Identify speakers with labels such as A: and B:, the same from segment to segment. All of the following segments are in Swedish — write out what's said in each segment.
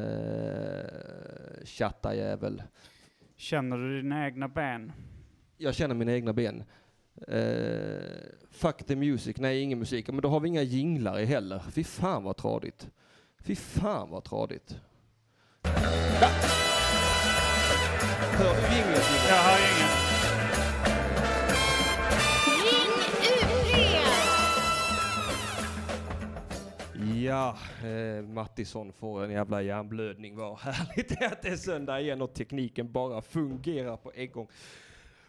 A: Eh, tjattarjävel.
B: Känner du dina egna ben?
A: Jag känner mina egna ben. Eh, fuck the music, nej ingen musik. Men då har vi inga jinglar i heller. Fy fan vad tradigt. Fy fan vad tradigt. Hör du jinglet? Jimmy?
B: Jag hör ingen.
C: Ring UP!
A: Ja, eh, Mattisson får en jävla hjärnblödning. Vad härligt det är att det är söndag igen och tekniken bara fungerar på en gång.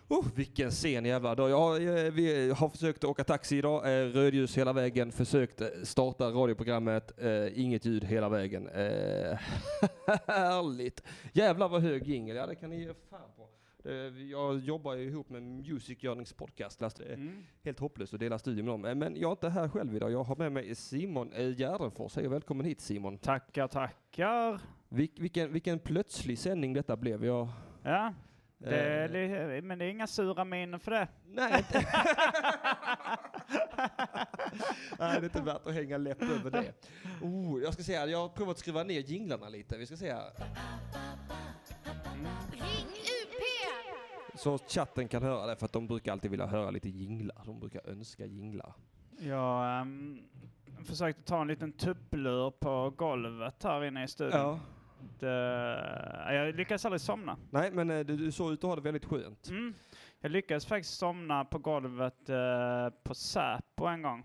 A: Oh, vilken sen jävla dag. Jag, har, eh, vi har försökt åka taxi idag, eh, rödljus hela vägen, försökt eh, starta radioprogrammet, eh, inget ljud hela vägen. Eh, härligt! Jävlar vad hög jingel, ja det kan ni ge fan på. Eh, Jag jobbar ju ihop med Music Yearnings podcast, Lasse. Det är
B: Mm.
A: helt hopplöst att dela studio med dem. Eh, Men jag är inte här själv idag. Jag har med mig Simon eh, Gärdenfors. Hej och välkommen hit Simon.
B: Tackar, tackar.
A: Vil- vilken, vilken plötslig sändning detta blev. Jag...
B: Ja, det är,
A: Eh.
B: li- men det är inga sura miner för det.
A: Nej, inte. Nej, det är inte värt att hänga läpp över det. Oh, jag ska säga, jag har provat att skruva ner jinglarna lite. Vi ska se här.
C: Ring UP!
A: Så chatten kan höra det, för att de brukar alltid vilja höra lite jinglar. De brukar önska jinglar.
B: Jag um, försökte ta en liten tupplur på golvet här inne i studion. Det, eh, jag lyckades aldrig somna.
A: Nej, men eh, du, du såg ut att ha det väldigt skönt.
B: Mm. Jag lyckades faktiskt somna på golvet eh, på Säpo en gång.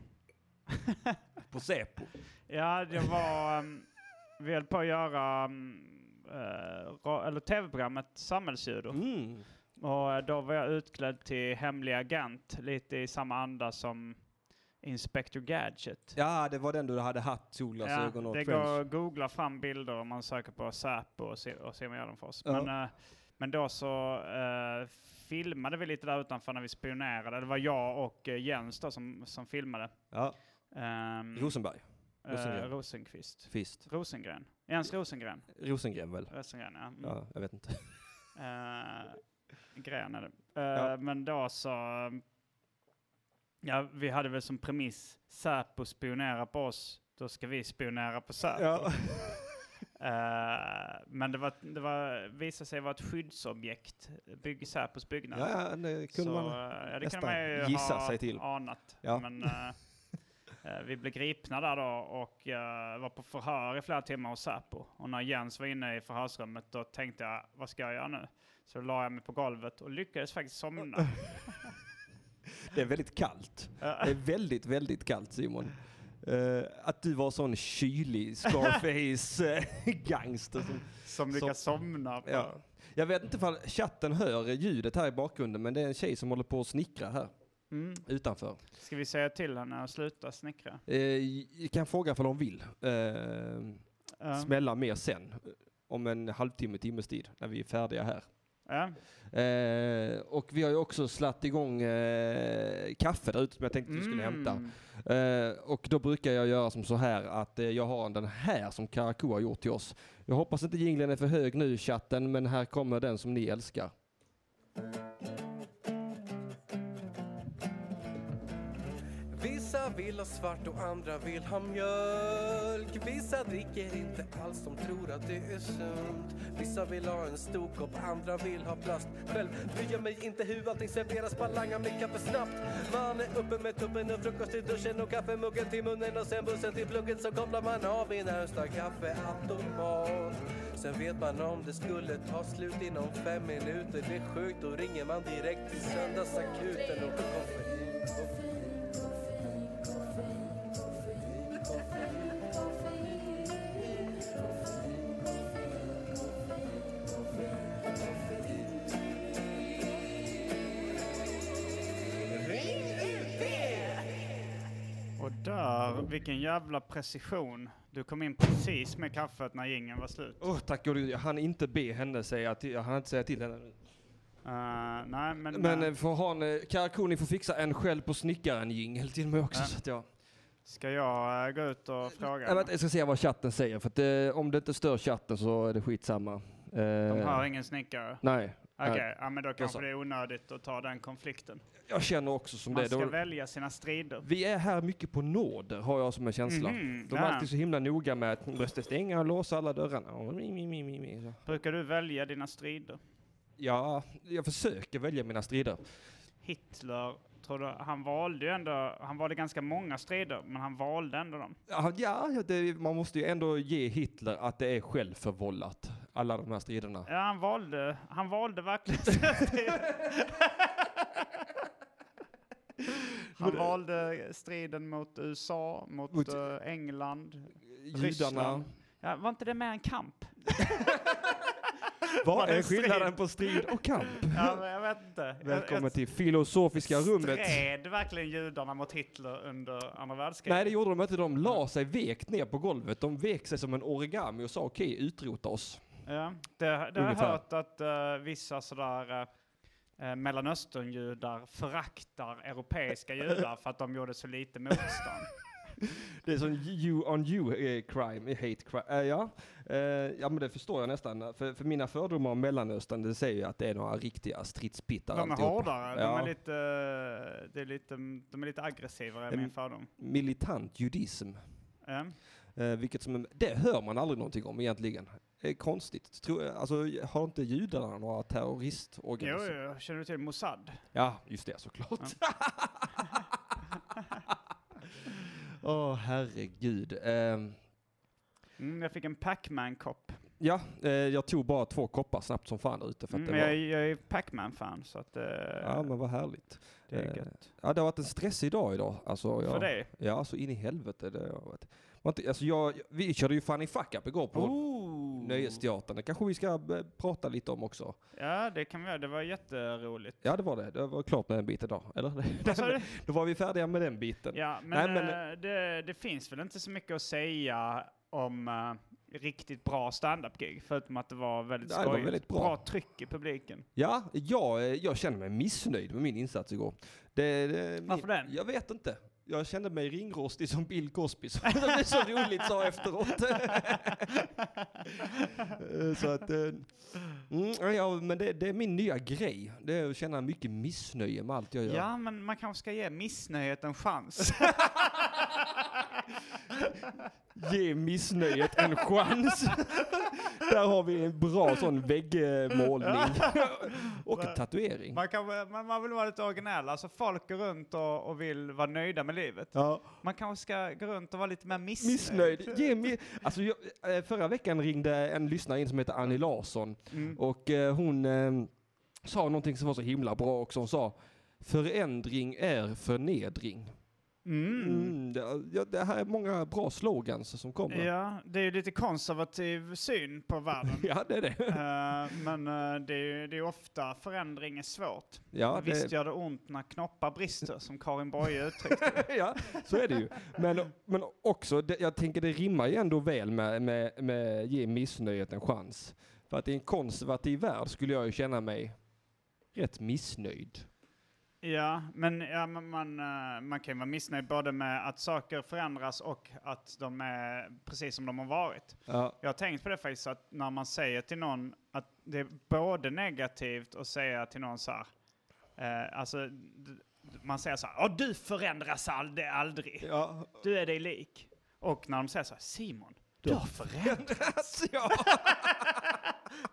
A: På Säpo.
B: Ja, jag var... Um, vi höll på att göra um, eh, ra- eller tv-programmet Samhällsljud.
A: Mm.
B: Och eh, då var jag utklädd till hemlig agent, lite i samma anda som Inspector Gadget.
A: Ja, det var den du hade hatt, solglasögon och
B: det
A: trench.
B: går att googla fram bilder om man söker på Säpo och se, och se om jag gör dem för oss.
A: Ja.
B: Men, eh, men då så eh, filmade vi lite där utanför när vi spionerade. Det var jag och eh, Jens då som, som filmade.
A: Ja.
B: Ehm,
A: Rosenberg.
B: eh,
A: Rosengren.
B: Rosenqvist.
A: Fist.
B: Rosengren. Jens Rosengren.
A: Rosengren väl?
B: Rosengren, ja. Mm.
A: Ja, jag vet inte.
B: Eh, gren är det. Eh,
A: Ja.
B: Men då så... Ja, vi hade väl som premiss Säpo spionerar på oss, då ska vi spionera på Säpo. Eh, men det, var, det var, visade sig vara ett skyddsobjekt, bygg, Säpos byggnad.
A: Ja, ja, det kunde
B: så,
A: man.
B: eh, ja, det
A: nästan
B: kunde man ju
A: gissa
B: ha
A: sig till.
B: anat.
A: Ja.
B: Men, eh, eh, vi blev gripna där då och eh, var på förhör i flera timmar hos Säpo. Och när Jens var inne i förhörsrummet då tänkte jag, vad ska jag göra nu? Så då la jag mig på golvet och lyckades faktiskt somna.
A: Det är väldigt kallt.
B: Ja.
A: Det är väldigt, väldigt kallt Simon. Eh, att du var sån kylig Scarface-gangster. Som,
B: som lyckades somna. På.
A: ja. Jag vet inte ifall chatten hör ljudet här i bakgrunden, men det är en tjej som håller på att snickra här
B: Mm.
A: utanför.
B: Ska vi säga till henne att sluta snickra?
A: Eh, jag kan fråga ifall hon vill eh,
B: Ja.
A: smälla mer sen, om en halvtimme, timmes tid, när vi är färdiga här.
B: Ja.
A: Eh, och vi har ju också slatt igång eh, kaffe där ute som jag tänkte du skulle hämta.
B: Mm.
A: Eh, och då brukar jag göra som så här att eh, jag har den här som Karakou har gjort till oss. Jag hoppas inte jinglen är för hög nu chatten, men här kommer den som ni älskar.
D: Vissa vill ha svart och andra vill ha mjölk Vissa dricker inte alls, de tror att det är sunt Vissa vill ha en stor kopp, andra vill ha plast Själv bryr jag mig inte hur allting serveras, bara langar mitt kaffe snabbt Man är uppe med tuppen och frukost i duschen och kaffemuggen till munnen och sen bussen till plugget så kopplar man av i närmsta kaffeautomat Sen vet man om det skulle ta slut inom fem minuter Det är sjukt, då ringer man direkt till söndagsakuten och koffein
B: Och där, vilken jävla precision. Du kom in precis med kaffet när jingeln var slut.
A: Åh tack gode gud, jag hann inte be henne säga till, jag hann inte säga till henne nu.
B: Eh, nej, men...
A: Men
B: eh,
A: eh, får ha en, eh, Karakou ni får fixa en själv på snickaren jingel till mig också.
B: Ja.
A: Så att jag,
B: Ska jag eh, gå ut och fråga?
A: jag, vet, jag ska se vad chatten säger, för att, eh, om det inte stör chatten så är det skitsamma. Eh,
B: De har ingen snickare.
A: Nej,
B: Okej,
A: Nej.
B: ja, men då kanske
A: så.
B: det är onödigt att ta den konflikten.
A: Jag känner också som
B: Man
A: det.
B: ska
A: Då,
B: välja sina strider.
A: vi är här mycket på nåder, har jag som en känsla.
B: Mhm,
A: De är
B: ja.
A: alltid så himla noga med att man måste stänga och låsa alla dörrarna. Och mi, mi, mi, mi, mi, så.
B: Brukar du välja dina strider?
A: Ja, jag försöker välja mina strider.
B: Hitler, tror du, han valde ju ändå, han valde ganska många strider, men han valde ändå dem.
A: Ja, Ja, det, man måste ju ändå ge Hitler att det är självförvållat, alla de här striderna.
B: Ja, han valde, han valde verkligen. han valde striden mot USA, mot,
A: Mot-
B: eh, England,
A: Judarna.
B: Ryssland. Ja, var inte det med en kamp? Var
A: Vad
B: det
A: är
B: en strid?
A: skillnaden på strid och kamp?
B: Ja, men jag vet inte. Jag-
A: Välkommen
B: jag
A: till filosofiska rummet.
B: Stred verkligen judarna mot Hitler under andra världskriget?
A: Nej, det gjorde de inte. De la sig vekt ner på golvet. De vek sig som en origami och sa okej, utrota oss.
B: Ja, det, det har jag
A: Ungefär.
B: hört att eh, vissa sådär uh, uh, Mellanösternjudar föraktar europeiska judar för att de gjorde så lite motstånd.
A: Det är som you on you eh, crime, eh, hate crime. Eh, ja. Eh, ja, men det förstår jag nästan. För, för mina fördomar om Mellanöstern, det säger ju att det är några riktiga stridspittar
B: De är
A: alltihopa.
B: hårdare, de
A: Ja.
B: är lite, eh, det är lite, de är lite aggressivare är
A: Mm.
B: min fördom.
A: Militant judism.
B: Ja.
A: Eh, vilket som, det hör man aldrig någonting om egentligen. Det är konstigt. Tror, alltså, har inte judarna några
B: Jo,
A: terroristorganisationer?
B: jo, känner du till Mossad?
A: Ja, just det såklart. Åh, herregud. Ehm,
B: Mm, jag fick en Pac-Man-kopp.
A: ja, eh, jag tog bara två koppar snabbt som fan där ute för att
B: Mm,
A: det
B: men
A: var...
B: jag, jag är Pac-Man-fan så att eh,
A: Ja, men vad härligt.
B: det är
A: eh,
B: gött.
A: Ja, det har varit en stressig dag idag. Alltså, jag,
B: För dig?
A: Ja, så in i helvete. Det har varit. Man, inte- alltså, jag, vi körde ju Funny Fuck Up igår på
B: Oh.
A: Nöjesteatern. Det kanske vi ska eh, prata lite om också.
B: Ja, det kan vi göra. Det var jätteroligt.
A: Ja, det var det. Det var klart med en bit idag. Eller?
B: Vad sa du?
A: Då var vi färdiga med den biten.
B: Ja,
A: Nej,
B: men,
A: men-
B: eh, det, det finns väl inte så mycket att säga om eh, riktigt bra stand-up-gig, förutom att det var väldigt
A: Nej, det var
B: skojigt.
A: väldigt bra.
B: tryck i publiken.
A: Ja, jag, eh, jag känner mig missnöjd med min insats igår. Det, det,
B: Varför
A: min,
B: den?
A: Jag vet inte. Jag kände mig ringrostig som Bill Cosby, som det så roligt sa efteråt. Eh, så att, eh, mm, ja, men det, det är min nya grej. Det är att känna mycket missnöje med allt jag
B: Ja.
A: gör.
B: men man kanske ska ge missnöjet en chans.
A: Ge missnöjet en chans. Där har vi en bra sån väggmålning. Och en tatuering.
B: man, kan, man, man vill vara lite originell, alltså folk går runt och, och vill vara nöjda med livet.
A: Ja.
B: Man kanske ska gå runt och vara lite mer missnöjd.
A: Missnöjd. Ge mi- alltså, jag, eh, förra veckan ringde en lyssnare in som heter Annie Larsson
B: Mm.
A: och eh, hon eh, sa någonting som var så himla bra också. Hon sa förändring är förnedring.
B: Mm.
A: Mm, det, ja, det här är många bra slogans som kommer. Ja,
B: Ja, det är ju lite konservativ syn på världen.
A: det är det.
B: Eh, men eh, det, är ju, det är ju ofta förändring är svårt.
A: Ja,
B: Men Visst
A: det,
B: gör det ont när knoppar brister, som Karin Boye uttryckte.
A: ja, så är det ju. Men, men också, det, jag tänker det rimmar ju ändå väl med, med, med ge missnöjet en chans. För att i en konservativ värld skulle jag ju känna mig rätt missnöjd.
B: ja, men ja, man, man, eh, man kan ju vara missnöjd både med att saker förändras och att de är precis som de har varit.
A: Ja.
B: Jag har tänkt på det faktiskt, att när man säger till någon att det är både negativt att säga till någon så här, eh, alltså, d- d- man säger så här, "Åh, du förändras aldrig, aldrig,
A: Ja,
B: du är dig lik. Och när de säger så här, Simon, du har förändrats,
A: Alltså, ja.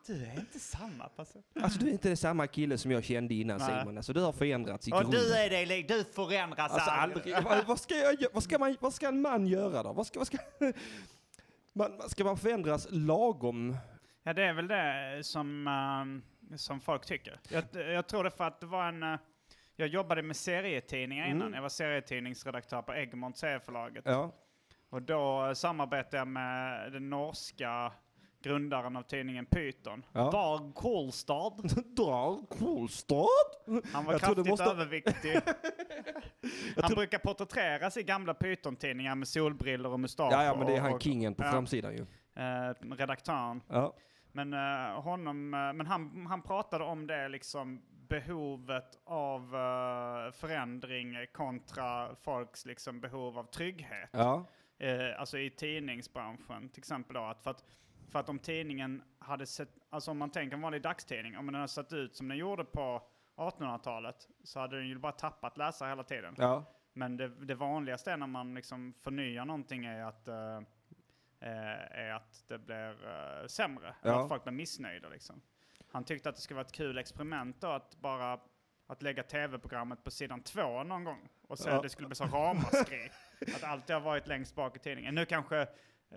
B: du är inte samma person.
A: Alltså du är inte samma kille som jag kände innan
B: Nej.
A: Simon. Alltså du har förändrats i
B: Och
A: grunden.
B: du är dig lik, du förändras
A: Alltså
B: aldrig.
A: aldrig. Vad, vad, ska jag, gö- vad, ska man, vad ska en man göra då? Vad ska, vad ska, man, ska man förändras lagom?
B: Ja, det är väl det som, eh, som folk tycker. Jag, jag tror det för att det var en... eh, jag jobbade med serietidningar innan.
A: Mm.
B: Jag var serietidningsredaktör på Egmont serieförlaget.
A: Ja.
B: Och då eh, samarbetade jag med den norska grundaren av tidningen Python.
A: Ja.
B: Dag Kolstad.
A: Drar Kolstad?
B: Han var
A: Jag tror du
B: kraftigt
A: måste-
B: överviktig. han brukar porträtteras i gamla Python-tidningar med solbriller och mustasch.
A: Ja, ja, men det är
B: och-
A: han
B: och,
A: kingen på
B: ja.
A: framsidan ju.
B: eh, redaktören.
A: Ja.
B: Men, eh, honom, eh, men han, han pratade om det liksom behovet av eh, förändring kontra folks liksom, behov av trygghet.
A: Ja.
B: Eh, alltså i tidningsbranschen till exempel då, att för att För att om tidningen hade sett, alltså om man tänker en vanlig dagstidning, om den hade sett ut som den gjorde på 1800-talet så hade den ju bara tappat läsare hela tiden.
A: Ja.
B: Men det, det vanligaste är när man liksom förnyar någonting är att, eh, eh, är att det blir eh, sämre,
A: Ja.
B: att folk blir missnöjda. Liksom. Han tyckte att det skulle vara ett kul experiment då, att bara att lägga tv-programmet på sidan två någon gång och så
A: Ja.
B: det skulle bli så ramaskri. att alltid har varit längst bak i tidningen. Nu kanske, eh,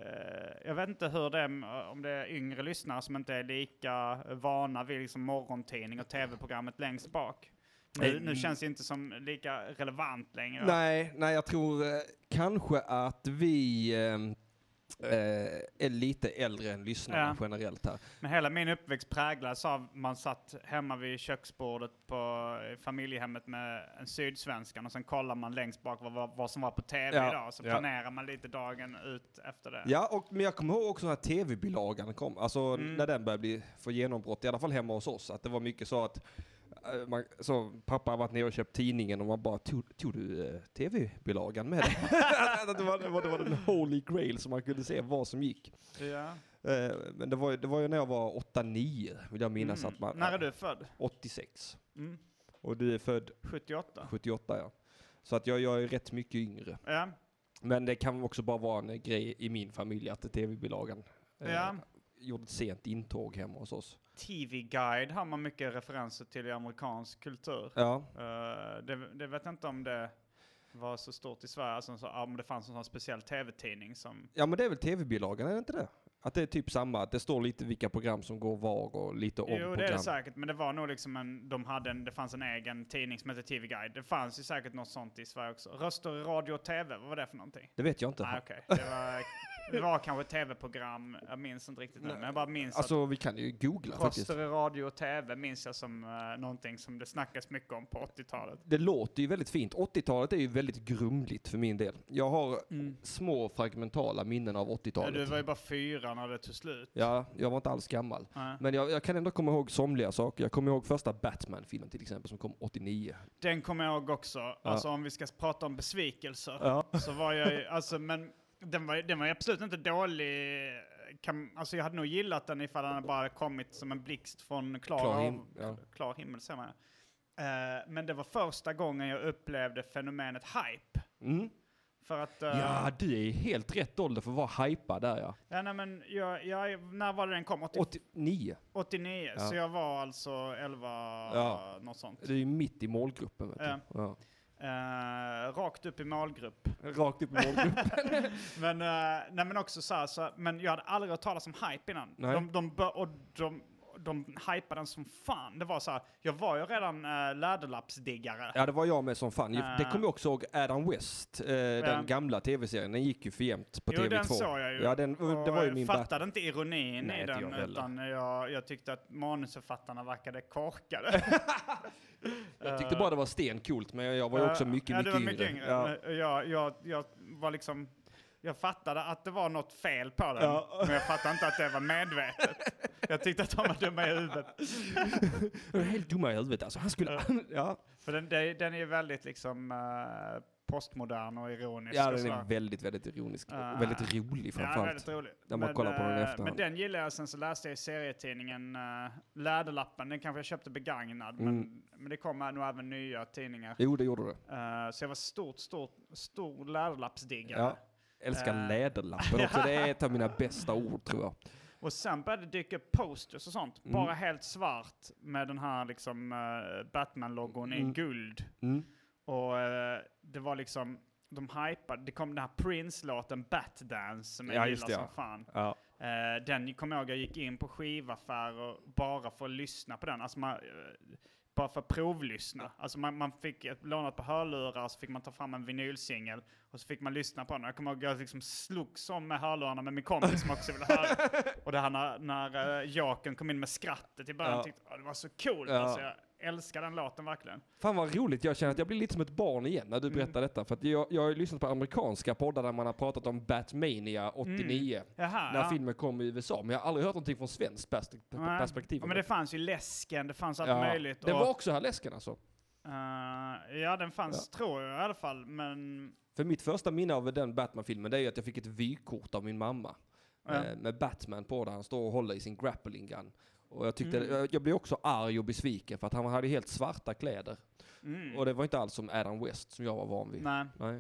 B: jag vet inte hur det är, om det är yngre lyssnare som inte är lika vana vid liksom morgontidning och tv-programmet längst bak. Nu, nu känns det inte som lika relevant längre.
A: Nej, nej, jag tror eh, kanske att vi ehm, eh, är lite äldre än lyssnarna
B: Ja.
A: generellt här.
B: Men hela min uppväxt präglas av man satt hemma vid köksbordet på eh, familjehemmet med en sydsvenskan och sen kollar man längst bak vad, vad, vad som var på tv
A: Ja,
B: idag. Så
A: ja.
B: planerar man lite dagen ut efter det.
A: Ja, och, men jag kommer ihåg också när tv-bilagan kom, alltså
B: Mm.
A: när den började bli för genombrott, i alla fall hemma hos oss, att det var mycket så att eh, man, så pappa har varit nere och köpt tidningen och man bara, tog, tog du eh, tv-bilagan med dig? Att- att det, var, det, var, det var den holy grail som man kunde se vad som gick.
B: Ja.
A: Eh, men det var, ju- det var ju när jag var 8-9, vill jag minnas
B: Mm.
A: att man...
B: När är du född?
A: 86.
B: Mm.
A: Och du är född
B: 78?
A: 78 ja. Så att jag, jag är rätt mycket yngre.
B: Ja.
A: Men det kan också bara vara en eh, grej i min familj att tv-bilagan eh,
B: ja.
A: gjorde ett sent intåg hemma hos oss.
B: TV-guide har man mycket referenser till i amerikansk kultur.
A: Ja,
B: Eh, det, det vet jag inte om det var så stort i Sverige, alltså, så, om det fanns en sån speciell tv-tidning som...
A: ja men det är väl tv-bilagan, är det inte det? Att det är typ samma, att det står lite vilka program som går var och lite om
B: Jo,
A: program.
B: det är det säkert, men det var nog liksom en, de hade en, det fanns en egen tidning som hette TV-guide. Det fanns ju säkert något sånt i Sverige också. Röster i radio och tv, vad var det för någonting?
A: Det vet jag inte.
B: Nej, okej. Det, var, det var kanske tv-program, jag minns inte riktigt nu, men jag bara minns att
A: Alltså vi kan ju googla faktiskt.
B: Röster i radio och tv minns jag som uh, någonting som det snackas mycket om på 80-talet.
A: Det låter ju väldigt fint. 80-talet är ju väldigt grumligt för min del. Jag har små fragmentala minnen av
B: Mm. Ja,
A: 80-talet.
B: Du var ju bara fyra när det tog slut.
A: Ja, jag var inte alls gammal.
B: Nej.
A: Men jag, jag kan ändå komma ihåg somliga saker. Jag kommer ihåg första Batman-filmen till exempel som kom 89.
B: Den kommer jag ihåg också. Alltså om vi ska prata om besvikelser. Så var jag ju, alltså men den var, ju- den var ju absolut inte dålig. Kan, alltså jag hade nog gillat den ifall den hade bara kommit som en blixt från klar,
A: Klar
B: av-
A: him- ja.
B: klar himmel. säger man. Eh, men det var första gången jag upplevde fenomenet hype.
A: Mm.
B: För att... eh,
A: Ja, du är i helt rätt ålder för att vara hypad där ja.
B: ja, nej, men jag, jag, när var det den kom? 80,
A: Typ- 89.
B: 89? Så jag var alltså 11,
A: Ja.
B: något sånt.
A: Du är ju mitt i målgruppen. Vet
B: Ja.
A: du. Ja.
B: Eh, rakt upp i målgrupp.
A: Rakt upp i målgruppen.
B: Men, eh, nej, men också så här, så, men jag hade aldrig hört talas om hype innan.
A: Nej.
B: De, de, bör- och de, de hypade den som fan. Det var så här, jag var ju redan uh, läderlappsdiggare.
A: ja, det var jag med som fan.
B: Ah.
A: Det kommer jag också ihåg Adam West, eh, den gamla tv-serien. Den gick ju för jämt på
B: Jo,
A: TV2.
B: den såg jag ju.
A: Ja, den,
B: Och
A: det var ju
B: jag
A: min Batman.
B: fattade inte ironin
A: Nej,
B: i
A: inte
B: den,
A: jag heller.
B: utan jag, jag tyckte att manusförfattarna verkade korkade.
A: Jag tyckte bara det var stencoolt, men jag, jag var ju också mycket,
B: ja,
A: mycket,
B: du var mycket
A: yngre.
B: yngre.
A: Ja.
B: Men Jag, jag, jag var liksom... Jag fattade att det var något fel på den,
A: Ja.
B: men jag fattade inte att det var medvetet. Jag tyckte att de var dumma i huvudet.
A: Jag är helt dumma i huvudet alltså. Han skulle... ja.
B: För den, den, den är ju väldigt liksom eh, postmodern och ironisk.
A: Ja,
B: och
A: den
B: sådär.
A: är väldigt, väldigt ironisk.
B: Ah.
A: och väldigt rolig
B: Ja,
A: framförallt.
B: väldigt rolig.
A: När man kollar på den i
B: eh, Men
A: efterhand.
B: den gillar jag. Sen så läste jag i serietidningen uh, Läderlappen. Den kanske jag köpte begagnad,
A: Mm.
B: men, men det kommer nog även nya tidningar.
A: Jo, det gjorde du.
B: Eh, så jag var stort, stort, stor läderlappsdiggare.
A: Ja. Älskar
B: Eh.
A: läderlappen också. Det är ett av mina bästa ord tror jag.
B: Och sen började det dyka upp posters och sånt.
A: Mm.
B: Bara helt svart med den här liksom eh, Batman-logon i guld.
A: Mm.
B: Och eh, det var liksom, de hypade, det kom den här Prince-låten Batdance som jag
A: Ja, just
B: gillar
A: det,
B: som
A: ja.
B: fan.
A: Ja.
B: Eh, den kommer jag ihåg, jag gick in på skivaffärer bara för att lyssna på den. Alltså man, eh, bara för att provlyssna. Alltså man, man fick ett, lånat på hörlurar, så fick man ta fram en vinylsingel och så fick man lyssna på den. Jag kommer ihåg jag liksom slogs om med hörlurarna med min kompis som också ville höra. Och det här när, när eh, Jaken kom in med skrattet i början,
A: Ja.
B: tyckte "Åh, det var så coolt.
A: Ja.
B: Alltså, jag älskar den låten verkligen.
A: Fan vad roligt, jag känner att jag blir lite som ett barn igen när du
B: Mm.
A: berättar detta. För att jag, jag har ju lyssnat på amerikanska poddar där man har pratat om Batmania 89.
B: Jaha,
A: När
B: Mm. ja.
A: filmen kom i USA, men jag har aldrig hört någonting från svenskt pers-
B: Nej.
A: perspektiv.
B: Ja, Men det fanns ju läsken, det fanns allt
A: Ja.
B: möjligt.
A: Den
B: och,
A: var också här läsken alltså.
B: eh, ja, den fanns tror jag i alla fall, men
A: För mitt första minne av den Batman-filmen det är ju att jag fick ett vykort av min mamma.
B: Ja.
A: eh, med Batman på där han står och håller i sin grappling gun. Och jag, tyckte,
B: Mm.
A: jag, jag blev också arg och besviken för att han hade helt svarta kläder.
B: Mm.
A: Och det var inte alls som Adam West som jag var van vid.
B: Nej.
A: Nej.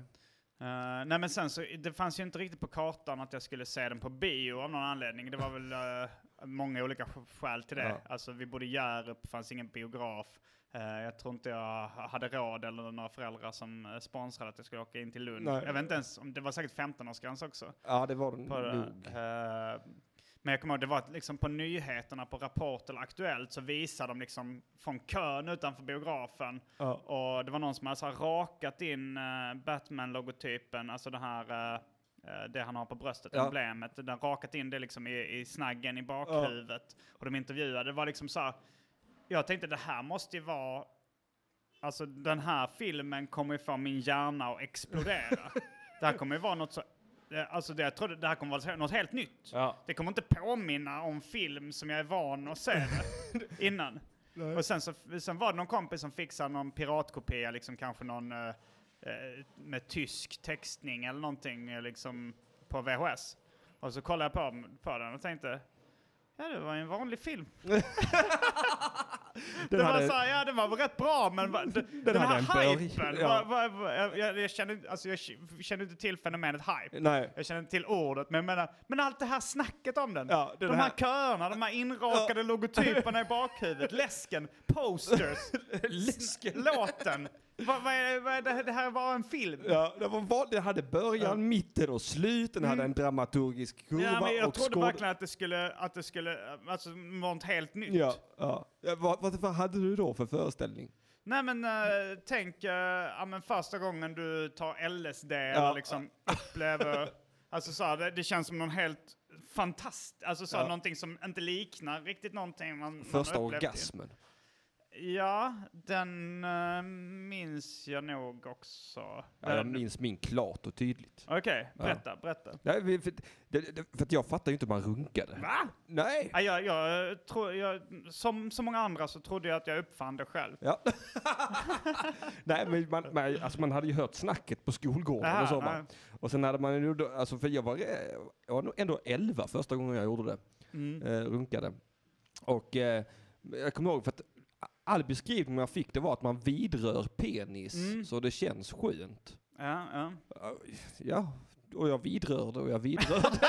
B: Eh, nej men sen så, det fanns ju inte riktigt på kartan att jag skulle se den på bio av någon anledning. Det var väl eh, många olika sk- skäl till det.
A: Ja.
B: Alltså vi bodde i Hjärup, fanns ingen biograf. Eh, jag tror inte jag hade råd eller några föräldrar som eh, sponsrade att jag skulle åka in till Lund.
A: Nej.
B: Jag vet inte ens, om det var säkert 15-årsgräns också.
A: Ja, det var den
B: På det.
A: Mm, nog.
B: Eh, men jag kommer ihåg, det var att liksom på nyheterna, på Rapport eller Aktuellt, så visade de liksom från kön utanför biografen
A: Ja.
B: och det var någon som hade så här rakat in eh, Batman-logotypen, alltså den här, eh, eh, det han har på bröstet,
A: Ja.
B: emblemet. Den rakat in det liksom i, i snaggen i bakhuvudet. Och de intervjuade, det var liksom så här, jag tänkte det här måste ju vara, alltså den här filmen kommer ju få min hjärna att explodera. det här kommer ju vara något så, eh, alltså det, jag trodde, det här kommer vara något helt nytt.
A: Ja.
B: Det kommer inte påminna om film som jag är van att se det innan. Och sen, så, sen var det någon kompis som fixade någon piratkopia, liksom kanske någon eh, eh, med tysk textning eller någonting eh, liksom på VHS. Och så kollade jag på, på den och tänkte, ja det var ju en vanlig film.
A: Den
B: det
A: hade-
B: var såhär, ja det var väl rätt bra men va, den, den,
A: hade
B: här
A: en börj-
B: hypen,
A: ja.
B: va, va, va, jag, jag, jag, kände, inte- alltså, jag kände inte till fenomenet hype.
A: Nej.
B: Jag känner inte till ordet, men jag menar, men allt det här snacket om den.
A: Ja, den
B: de här,
A: här-
B: köerna, de här inrakade logotyperna i bakhuvudet, läsken, posters,
A: Läsken.
B: låten. Vad, vad är, vad är det, det här var en film.
A: Ja, det, var, val- det hade början, mitten och slut. Den hade en dramaturgisk kurva
B: Mm. Ja, men jag
A: och
B: trodde
A: skåd-
B: verkligen att det skulle, att det skulle, alltså något helt nytt.
A: Ja, ja. ja vad, vad vad hade du då för föreställning?
B: Nej men eh, tänk, eh, ja, men första gången du tar LSD eller liksom upplever, alltså så här, det, det känns som någon helt fantast, alltså så här,
A: Ja.
B: någonting som inte liknar riktigt någonting man
A: Första
B: man upplevt.
A: orgasmen.
B: Ja, den eh, minns jag nog också.
A: Ja, jag
B: Den-
A: minns min klart och tydligt.
B: Okej, berätta, berätta.
A: Nej, vi- för, det, det, för att jag fattar ju inte hur man runkade.
B: Va?
A: Nej!
B: Ja, jag, jag, eh, tror- jag, som så många andra så trodde jag att jag uppfann det själv.
A: Ja. nej, men man, man, alltså man hade ju hört snacket på skolgården
B: Aha,
A: och så.
B: nej.
A: va. Och sen hade man ju, då- alltså för jag var, eh, jag var nog ändå 11 första gången jag gjorde det.
B: Mm.
A: Eh, runkade. Och eh, jag kommer ihåg för att all beskrivning jag fick det var att man vidrör penis
B: Mm.
A: så det känns skönt.
B: Ja, ja.
A: Ja, och jag vidrörde och jag vidrörde.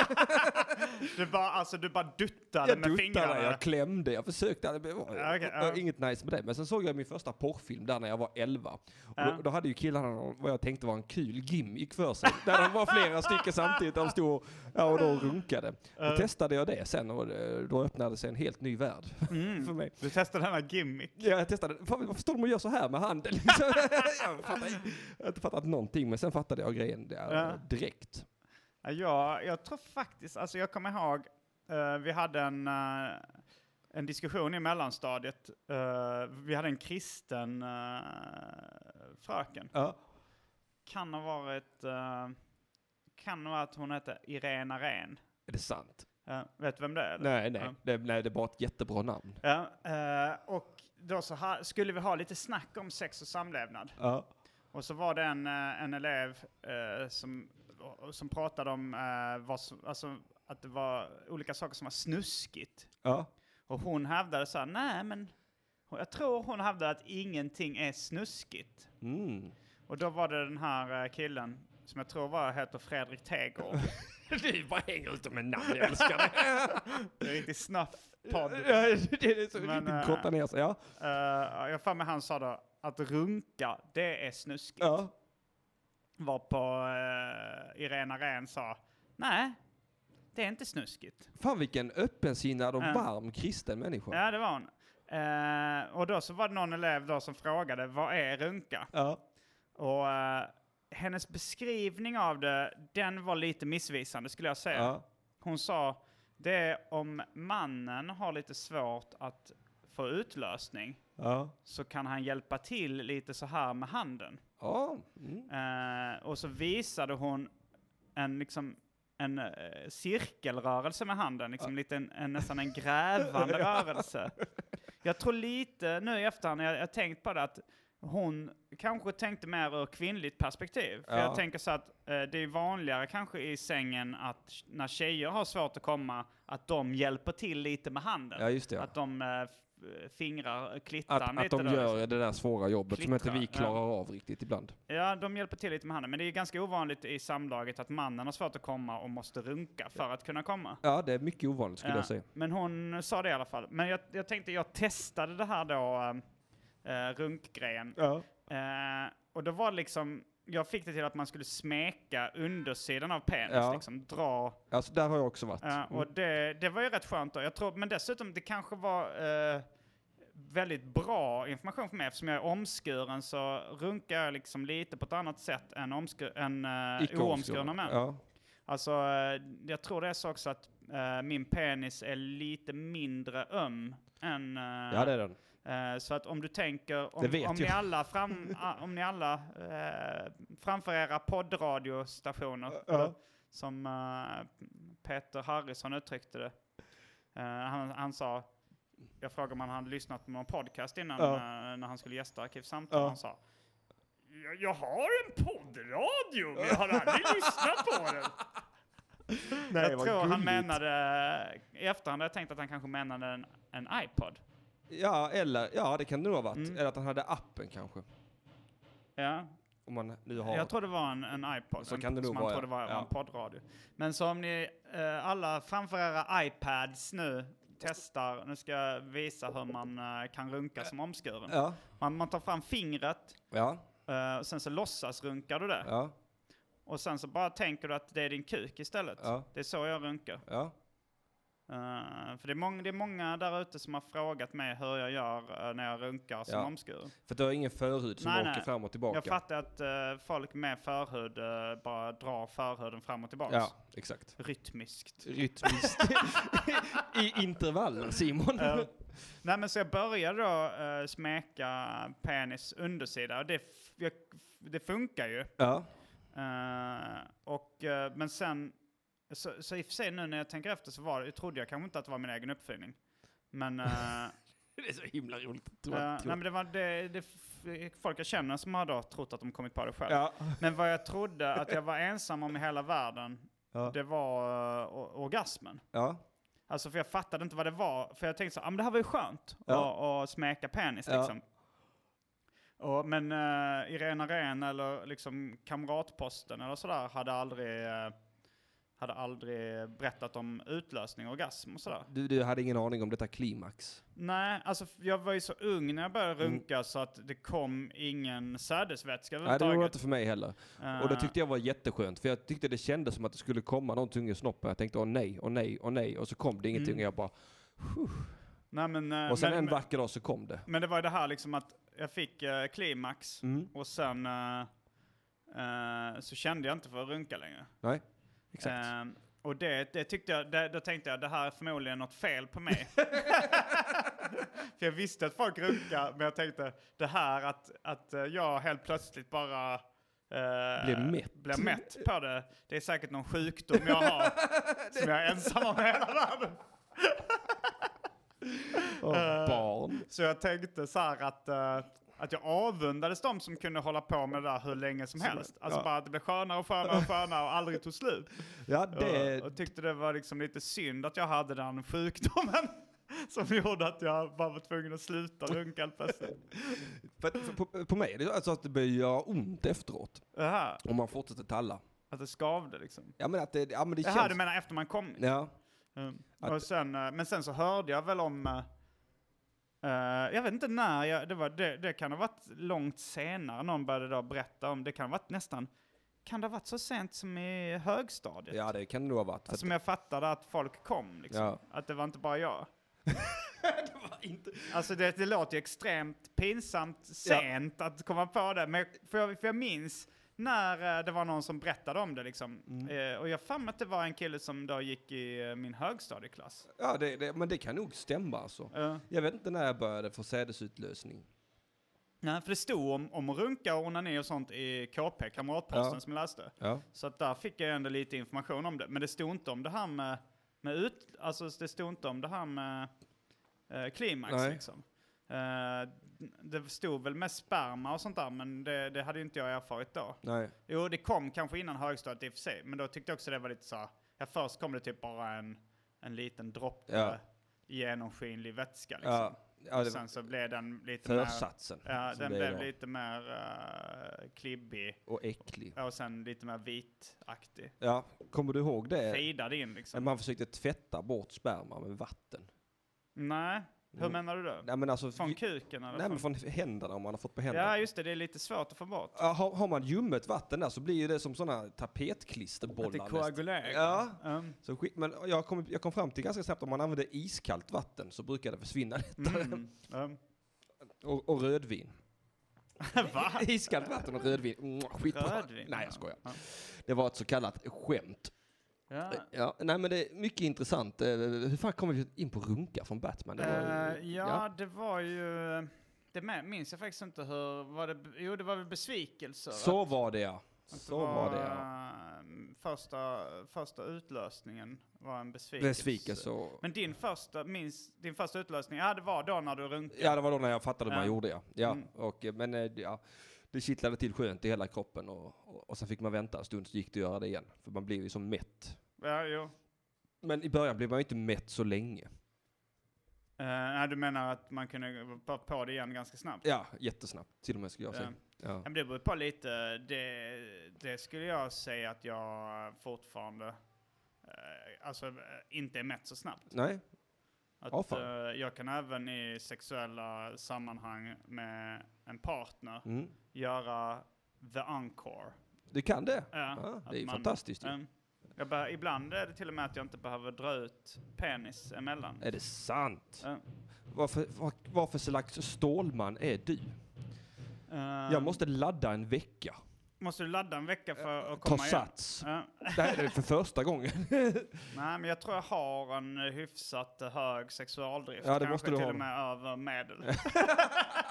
B: Du bara, alltså, du bara duttade
A: jag
B: med fingrarna.
A: duttade, jag klämde, jag försökte. Det var
B: Ja, okej, ja.
A: inget nice med det. Men sen såg jag min första porrfilm där när jag var 11.
B: Ja.
A: Och då, då hade ju killarna någon- vad jag tänkte var en kul gimmick för sig. där de var flera stycken samtidigt. De stod och, ja, och de runkade. Då
B: Eh,
A: testade jag det sen och eh, då öppnade sig en helt ny värld för mig.
B: mm. Du testade den här gimmick.
A: Ja, jag testade. Fan, varför står de och gör så här med handen? Liksom. jag, fattar, jag har inte fattat någonting, men sen fattade jag grejen där
B: Ja.
A: direkt.
B: Ja, jag- jag tror faktiskt, alltså jag kommer ihåg, eh, vi hade en, eh, en diskussion i mellanstadiet. eh, vi hade en kristen eh, fröken.
A: Ja.
B: Kan ha varit, eh, kan ha varit att hon hette Irena Rehn.
A: Är det sant?
B: Eh, vet du vem det är? eller?
A: Nej, nej.
B: Ja.
A: Det, nej, det är bara ett jättebra namn.
B: Ja, eh, och då så ha, skulle vi ha lite snack om sex och samlevnad.
A: Ja.
B: Och så var det en, eh, en elev eh, som, som pratade om eh, vad som, alltså, att det var olika saker som var snuskigt.
A: Ja.
B: Och hon hävdade så här, nej men jag tror hon hävdade att ingenting är snuskigt.
A: Mm.
B: Och då var det den här eh, killen som jag tror var heter Fredrik Tegård.
A: Du bara hänger ut med namn, jag älskar det.
B: Det är en riktig snuff-podd.
A: Ja, det är så
B: Men,
A: riktigt
B: äh,
A: grottar ner sig. Ja.
B: Eh, jag för mig han sa då att runka, det är snuskigt.
A: Ja.
B: Var på eh, Irena Rehn sa, nej, det är inte snuskigt.
A: Fan vilken öppensinnad och
B: Ja.
A: varm kristen människa.
B: Ja, det var hon. Eh, och då så var det någon elev då som frågade, vad är runka?
A: Ja.
B: Och eh, hennes beskrivning av det, den var lite missvisande skulle jag säga.
A: Ja.
B: Hon sa, det är om mannen har lite svårt att få utlösning
A: Ja.
B: så kan han hjälpa till lite så här med handen.
A: Ja. Mm.
B: Eh, och så visade hon en, liksom, en eh, cirkelrörelse med handen, liksom lite en, en, nästan en grävande rörelse. Jag tror lite nu i efterhand, jag jag har tänkt på det, att hon kanske tänkte mer ur kvinnligt perspektiv. För
A: Ja.
B: jag tänker så att eh, det är vanligare kanske i sängen att sh- när tjejer har svårt att komma, att de hjälper till lite med handen.
A: Ja, just det, ja.
B: Att de eh, f- fingrar eh, klittan
A: Att,
B: lite.
A: att de
B: då, liksom.
A: gör det där svåra jobbet som
B: Klittra,
A: inte vi
B: ja.
A: klarar av riktigt ibland.
B: Ja, de hjälper till lite med handen. Men det är ganska ovanligt i samlaget att mannen har svårt att komma och måste runka för att kunna komma.
A: Ja, det är mycket ovanligt skulle
B: Ja,
A: jag säga.
B: Men hon sa det i alla fall. Men jag, jag tänkte, jag testade det här då, eh, eh, runkgrejen. Eh, och då var det liksom, jag fick det till att man skulle smeka undersidan av penis,
A: Ja.
B: liksom dra.
A: Alltså, där har jag också varit. Mm.
B: eh, och det, det var ju rätt skönt då. Jag tror, men dessutom, det kanske var eh, väldigt bra information för mig. Eftersom jag är omskuren så runkar jag liksom lite på ett annat sätt än, omskur, än eh, oomskurna män.
A: Ja.
B: Alltså, eh, jag tror det är så också att eh, min penis är lite mindre öm än... eh,
A: ja, det är den.
B: eh, så att om du tänker,
A: Det
B: om,
A: vet
B: om ni
A: jag.
B: alla, fram, a- om ni alla eh, framför era poddradiostationer,
A: Ja.
B: eller som eh, Peter Harrison uttryckte det, eh, han, han sa, jag frågade om han hade lyssnat på någon podcast innan
A: Ja.
B: eh, när han skulle gästa Arkivsamtal,
A: Ja.
B: han sa, jag, jag har en poddradio, men jag har aldrig lyssnat på den.
A: Nej,
B: jag
A: vad
B: tror han
A: gulligt.
B: menade, i efterhand har jag tänkt att han kanske menade en, en iPod.
A: Ja, eller, ja, det kan det nog ha varit.
B: Mm.
A: Eller att han hade appen kanske.
B: Ja,
A: Om man nu har...
B: jag tror det var en, en iPod.
A: Så
B: en-
A: kan det nog
B: som han
A: vara,
B: trodde var
A: ja.
B: en poddradio. Men så om ni eh, alla framför era iPads nu testar, nu ska jag visa hur man eh, kan runka som omskuren.
A: Ja,
B: Man, man tar fram fingret,
A: ja,
B: eh, och sen så låtsas runkar du det.
A: ja,
B: Och sen så bara tänker du att det är din kuk istället.
A: Ja.
B: Det är så jag runkar.
A: ja.
B: Eh, för det är, många, det är många där ute som har frågat mig hur jag gör eh, när jag runkar som
A: Ja.
B: omskuren.
A: För du har ingen förhud som
B: Nej,
A: åker
B: nej.
A: fram och tillbaka.
B: Jag fattar att eh, folk med förhud eh, bara drar förhuden fram och tillbaka.
A: Ja, exakt.
B: Rytmiskt.
A: Rytmiskt. I intervaller, Simon.
B: Eh, nej men så jag började då eh, smeka penis undersida och det, f- jag, det funkar ju.
A: Ja,
B: Eh, och, eh, men sen, så, så i och för sig nu när jag tänker efter så var, det- trodde jag kanske inte att det var min egen uppfinning. Men, eh,
A: det är så himla roligt. att tro
B: eh, nej,
A: att-
B: men det var det, det, f- folk jag känner som har då trott att de kommit på det själv.
A: Ja,
B: Men vad jag trodde att jag var ensam om i hela världen,
A: Ja.
B: det var eh, o- orgasmen.
A: ja,
B: Alltså för jag fattade inte vad det var, för jag tänkte så ah, men det här var ju skönt
A: Ja.
B: att- att smeka penis
A: Ja.
B: liksom. Och, men uh, Irena Rehn eller liksom Kamratposten eller sådär hade aldrig, eh, hade aldrig berättat om utlösning, orgasm och sådär.
A: du, du hade ingen aning om detta klimax.
B: Nej, alltså f- jag var ju så ung när jag började runka så att det kom ingen sädesvätska
A: Mm. Nej, det gjorde det
B: överhuvudtaget.
A: inte för mig heller. Och det tyckte jag var jätteskönt, för jag tyckte det kändes som att det skulle komma någonting i snoppen. Jag tänkte åh nej, åh nej, åh nej. Och så kom det ingenting
B: Mm.
A: och jag bara...
B: Nej, men, eh,
A: Och sen
B: men,
A: en vacker dag så kom det.
B: men det var ju det här liksom att jag fick eh, klimax.
A: Mm.
B: Och sen eh, eh, så kände jag inte för att runka längre.
A: Nej, exakt.
B: Eh, och det, det tyckte jag, det, då tänkte jag det här är förmodligen något fel på mig. för jag visste att folk runkar, men jag tänkte det här att, att eh, jag helt plötsligt bara eh,
A: Blir mätt.
B: blir mätt på det. Det är säkert någon sjukdom jag har som jag är ensam om i hela världen.
A: Åh,
B: Eh.
A: barn.
B: Så jag tänkte så här att, eh, att jag avundades de som kunde hålla på med det där hur länge som helst. Alltså
A: ja.
B: bara att det blev skönare och skönare och skönare och aldrig tog slut.
A: Ja, det...
B: Och, och tyckte det var liksom lite synd att jag hade den sjukdomen som gjorde att jag bara var tvungen att sluta runka helt plötsligt.
A: För, att- för, på, på mig är det alltså att det börjar göra ont efteråt.
B: Det här,
A: Om man fortsätter talla.
B: att det skavde liksom.
A: Ja men att det, ja, men det,
B: Det här
A: känns...
B: du menar efter man kom?
A: Ja.
B: Mm.
A: Att-
B: Och sen, eh, men sen så hörde jag väl om... eh, eh, jag vet inte när, jag, det, var, det, det kan ha varit långt senare någon började då berätta om. Det kan ha varit nästan... Kan det ha varit så sent som i högstadiet?
A: ja, det kan det nog ha varit. För
B: Som jag fattade att folk kom, liksom.
A: Ja.
B: Att det var inte bara jag.
A: att, det var inte...
B: Alltså det, det låter ju extremt pinsamt sent att komma på det, men jag, för, jag, för jag minns när eh, det var någon som berättade om det liksom.
A: Mm.
B: Eh, och jag har för mig att det var en kille som då gick i eh, min högstadieklass.
A: Ja, det, det, men det kan nog stämma alltså.
B: Eh,
A: Jag vet inte när jag började få sädesutlösning.
B: Nej, för det stod om, om att runka och onani och sånt i KP, Kamratposten,
A: Ja.
B: som jag läste.
A: Ja.
B: Så att där fick jag ändå lite information om det. Men det stod inte om det här med, med ut, alltså det stod inte om det här med eh, klimax
A: Nej.
B: liksom. Eh, det stod väl med sperma och sånt där, men det, det hade ju inte jag erfarit då.
A: Nej.
B: Jo, det kom kanske innan högstadiet i och för sig, men då tyckte jag också det var lite så här, ja, först kom det typ bara en, en liten droppe
A: Ja.
B: genomskinlig vätska liksom.
A: Ja, ja,
B: och
A: det
B: sen
A: var
B: så blev den lite
A: försatsen.
B: mer, ja,
A: som
B: den
A: det
B: blev
A: idag.
B: lite mer eh, klibbig
A: Och äcklig.
B: och sen lite mer vitaktig.
A: Ja, kommer du ihåg det?
B: Fejdad in
A: När
B: liksom.
A: man försökte tvätta bort sperma med vatten.
B: Nej, hur
A: Mm.
B: menar du då?
A: Nej men alltså,
B: Från kuken eller?
A: nej, men
B: från-
A: från händerna om man har fått på händerna.
B: Ja, just det, det är lite svårt att få bort.
A: Ja, har, har man ljummet vatten där så blir ju det som sådana tapetklisterbollar.
B: Att det
A: nästan.
B: koagulerar.
A: Ja.
B: Mm.
A: Så skit, men jag kom, jag kom fram till ganska snabbt om man använder iskallt vatten så brukar det försvinna lättare.
B: Mm. Mm.
A: Och, och rödvin.
B: Va?
A: Iskallt vatten och rödvin. Mm, skitbra.
B: Rödvin?
A: Nej, jag skojar.
B: Ja.
A: Det var ett så kallat skämt. Eh,
B: Ja.
A: Ja, nej men det är mycket intressant. Eh, Hur fan kom vi in på runka från Batman? Det var ju-
B: Eh, ja, det var ju... eh, Det mä- minns jag faktiskt inte hur... Var det, b- jo, det var väl besvikelse.
A: Så var det ja.
B: Att
A: Så var det ja.
B: eh, Första, första utlösningen var en besvikelse.
A: Besvikelse och...
B: Men din första, minns, din första utlösning, ja det var då när du runkade.
A: Ja, det var då när jag fattade hur man
B: Ja.
A: gjorde ja. ja
B: Mm.
A: och, eh, men eh, ja, det kittlade till skönt i hela kroppen och, och, och sen fick man vänta en stund så gick det att göra det igen. För man blev ju som mätt.
B: Ja, jo.
A: Men i början blev man ju inte mätt så länge.
B: Eh, nej, du menar att man kunde vara på det igen ganska snabbt?
A: Ja, jättesnabbt till och med skulle jag säga. Ja.
B: Ja, Men det beror på lite. Det, det skulle jag säga att jag fortfarande eh, alltså, eh, inte är mätt så snabbt.
A: Nej,
B: Att,
A: Ja, fan.
B: eh, jag kan även i sexuella sammanhang med en partner
A: mm.
B: göra the encore.
A: du kan det.
B: Ja,
A: Ja,
B: att
A: Ah, det är ju fantastiskt ju.
B: Mm. jag bör, ibland är det till och med att jag inte behöver dra ut penis emellan.
A: Är det sant?
B: Ja.
A: Varför, var, varför slags stålman är du?
B: Eh,
A: Jag måste ladda en vecka.
B: måste du ladda en vecka för att
A: Ta
B: komma igen?
A: sats.
B: Ja.
A: Det här är för första gången.
B: Nej, men jag tror jag har en eh, hyfsat eh, hög sexualdrift.
A: Ja, det
B: Kanske
A: måste du
B: till
A: ha.
B: och med över medel.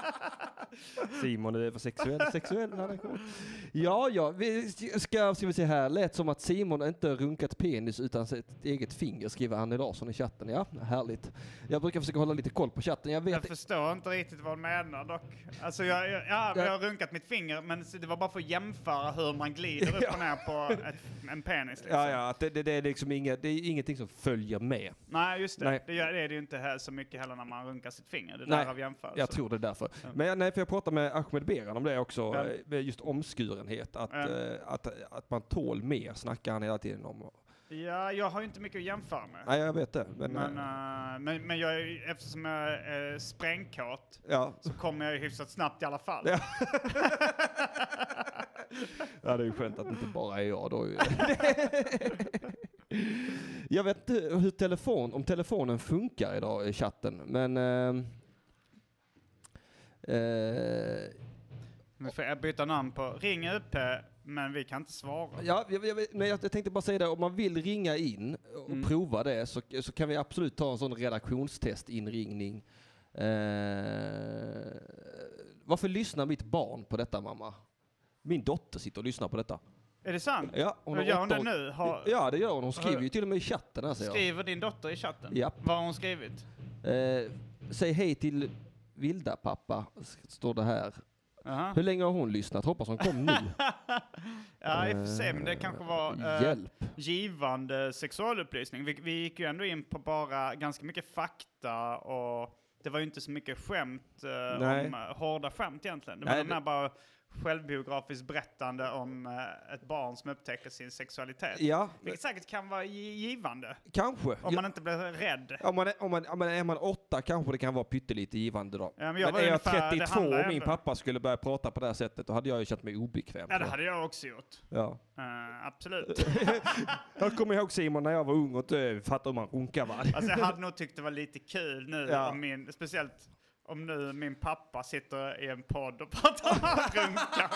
A: Simon är översexuell, sexuell när det kommer. Ja, ja, vi ska, ska vi se här, lät som att Simon inte runkat penis utan sitt eget finger, skriver Annie Larsson i chatten. Ja, härligt. Jag brukar försöka hålla lite koll på chatten, jag
B: Jag
A: vet.
B: förstår inte riktigt vad du menar dock. Alltså jag, jag, ja, jag har runkat mitt finger, men det var bara för att jämföra hur man glider upp och ner på ett, en penis. Liksom.
A: Ja, ja, att det, det, det är liksom inget, det är ingenting som följer med.
B: Nej, just det.
A: Nej.
B: Det, gör, det är det ju inte här så mycket heller när man runkar sitt finger. Det
A: Nej,
B: där av jämförelse.
A: Jag tror det är därför.
B: Ja.
A: Men jag- nej, för jag pratade med Ahmed Beran om det också,
B: Ja.
A: eh, med just omskurenhet, att,
B: Ja.
A: eh, att, att man tål mer, snackar han hela tiden om.
B: Ja, jag har ju inte mycket att jämföra med.
A: Nej, jag vet det. Men,
B: Men,
A: eh,
B: eh, men, men jag, är ju- eftersom jag är sprängkåt
A: ja.
B: så kommer jag ju hyfsat snabbt i alla fall.
A: Ja. Ja, det är ju skönt att det inte bara är jag då. ju. jag vet inte hur telefon, om telefonen funkar idag i chatten, men... ehm, eh,
B: Nu får jag byta namn på Ring UP, men vi kan inte svara.
A: ja, jag, jag, nej, jag tänkte bara säga det, om man vill ringa in och
B: Mm.
A: prova det så, så kan vi absolut ta en sån redaktionstestinringning. Eh, varför lyssnar mitt barn på detta, mamma? Min dotter sitter och lyssnar på detta.
B: Är det sant?
A: Ja, hon har
B: Gör hon
A: åtta
B: det
A: år-
B: nu? Har,
A: Ja, det gör hon. Hon skriver ju till och med i chatten här, säger jag.
B: Skriver din dotter i chatten?
A: Japp.
B: Vad har hon skrivit?
A: Eh, säg hej till Vilda pappa, s- står det här.
B: Jaha.
A: Hur länge har hon lyssnat? Hoppas hon kom nu.
B: Ja, i och för sig, men det kanske var eh,
A: Hjälp.
B: givande sexualupplysning. Vi, vi gick ju ändå in på bara ganska mycket fakta och det var ju inte så mycket skämt, eh,
A: Nej.
B: om, eh, hårda skämt egentligen. Det
A: Nej,
B: var
A: det-
B: mer bara självbiografiskt berättande om eh, ett barn som upptäcker sin sexualitet.
A: Ja,
B: Vilket säkert kan vara gi- givande,
A: kanske. Ja,
B: om man inte blir rädd.
A: om man, är, om man, om man, är man åtta kanske det kan vara pyttelite givande då.
B: Ja, men jag
A: men
B: var
A: är jag
B: ungefär- det
A: 32
B: handlar
A: och min
B: ändå-
A: pappa skulle börja prata på det här sättet, då hade jag ju känt mig obekväm.
B: Ja, det
A: Så,
B: hade jag också gjort.
A: ja.
B: Eh, absolut.
A: Jag kommer ihåg Simon när jag var ung och inte fattade hur man runkar va?
B: Alltså jag hade nog tyckt det var lite kul nu
A: Ja.
B: om min, speciellt om nu min pappa sitter i en podd och pratar om att runka.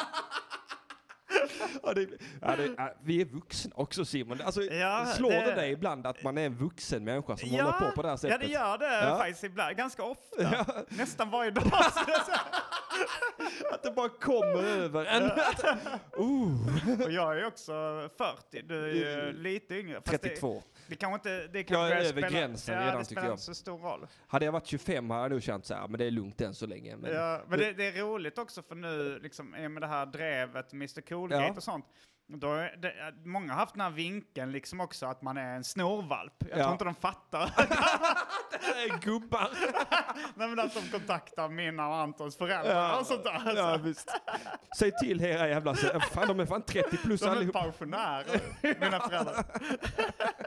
A: Ja, det, ja, det, ja, vi är vuxna också Simon. Alltså,
B: Ja,
A: slår det...
B: det-
A: dig ibland att man är en vuxen människa som håller på
B: Ja,
A: på det här
B: ja,
A: sättet?
B: det gör det
A: Ja.
B: faktiskt ibland, ganska ofta.
A: Ja.
B: Nästan varje dag. skulle jag säga.
A: Att det bara kommer över en. Att, oh,
B: och jag är ju också 40, du är ju lite yngre. Fast
A: 32.
B: Det kanske inte... Det
A: Mm. Jag
B: kanske
A: är
B: börjar
A: över
B: spela-
A: gränsen
B: ja,
A: redan,
B: det
A: tycker
B: spelar
A: jag.
B: inte så stor roll.
A: Hade jag varit 25 hade jag nog känt så här, men det är lugnt än så länge. Men,
B: ja, men det, det är roligt också för nu, liksom, i och med det här drevet, Mr Coolgate
A: Ja.
B: och sånt. Då är det, många har haft den här vinkeln liksom också, att man är en snorvalp. Jag
A: Ja.
B: tror inte de fattar.
A: Äh, Gubbar!
B: Nej, men att de kontaktar mina och Antons föräldrar och sånt där. Alltså.
A: ja, visst. Säg till era jävla... Fan, de är fan 30 plus
B: de är
A: allihop.
B: pensionärer, mina föräldrar.
A: Eh,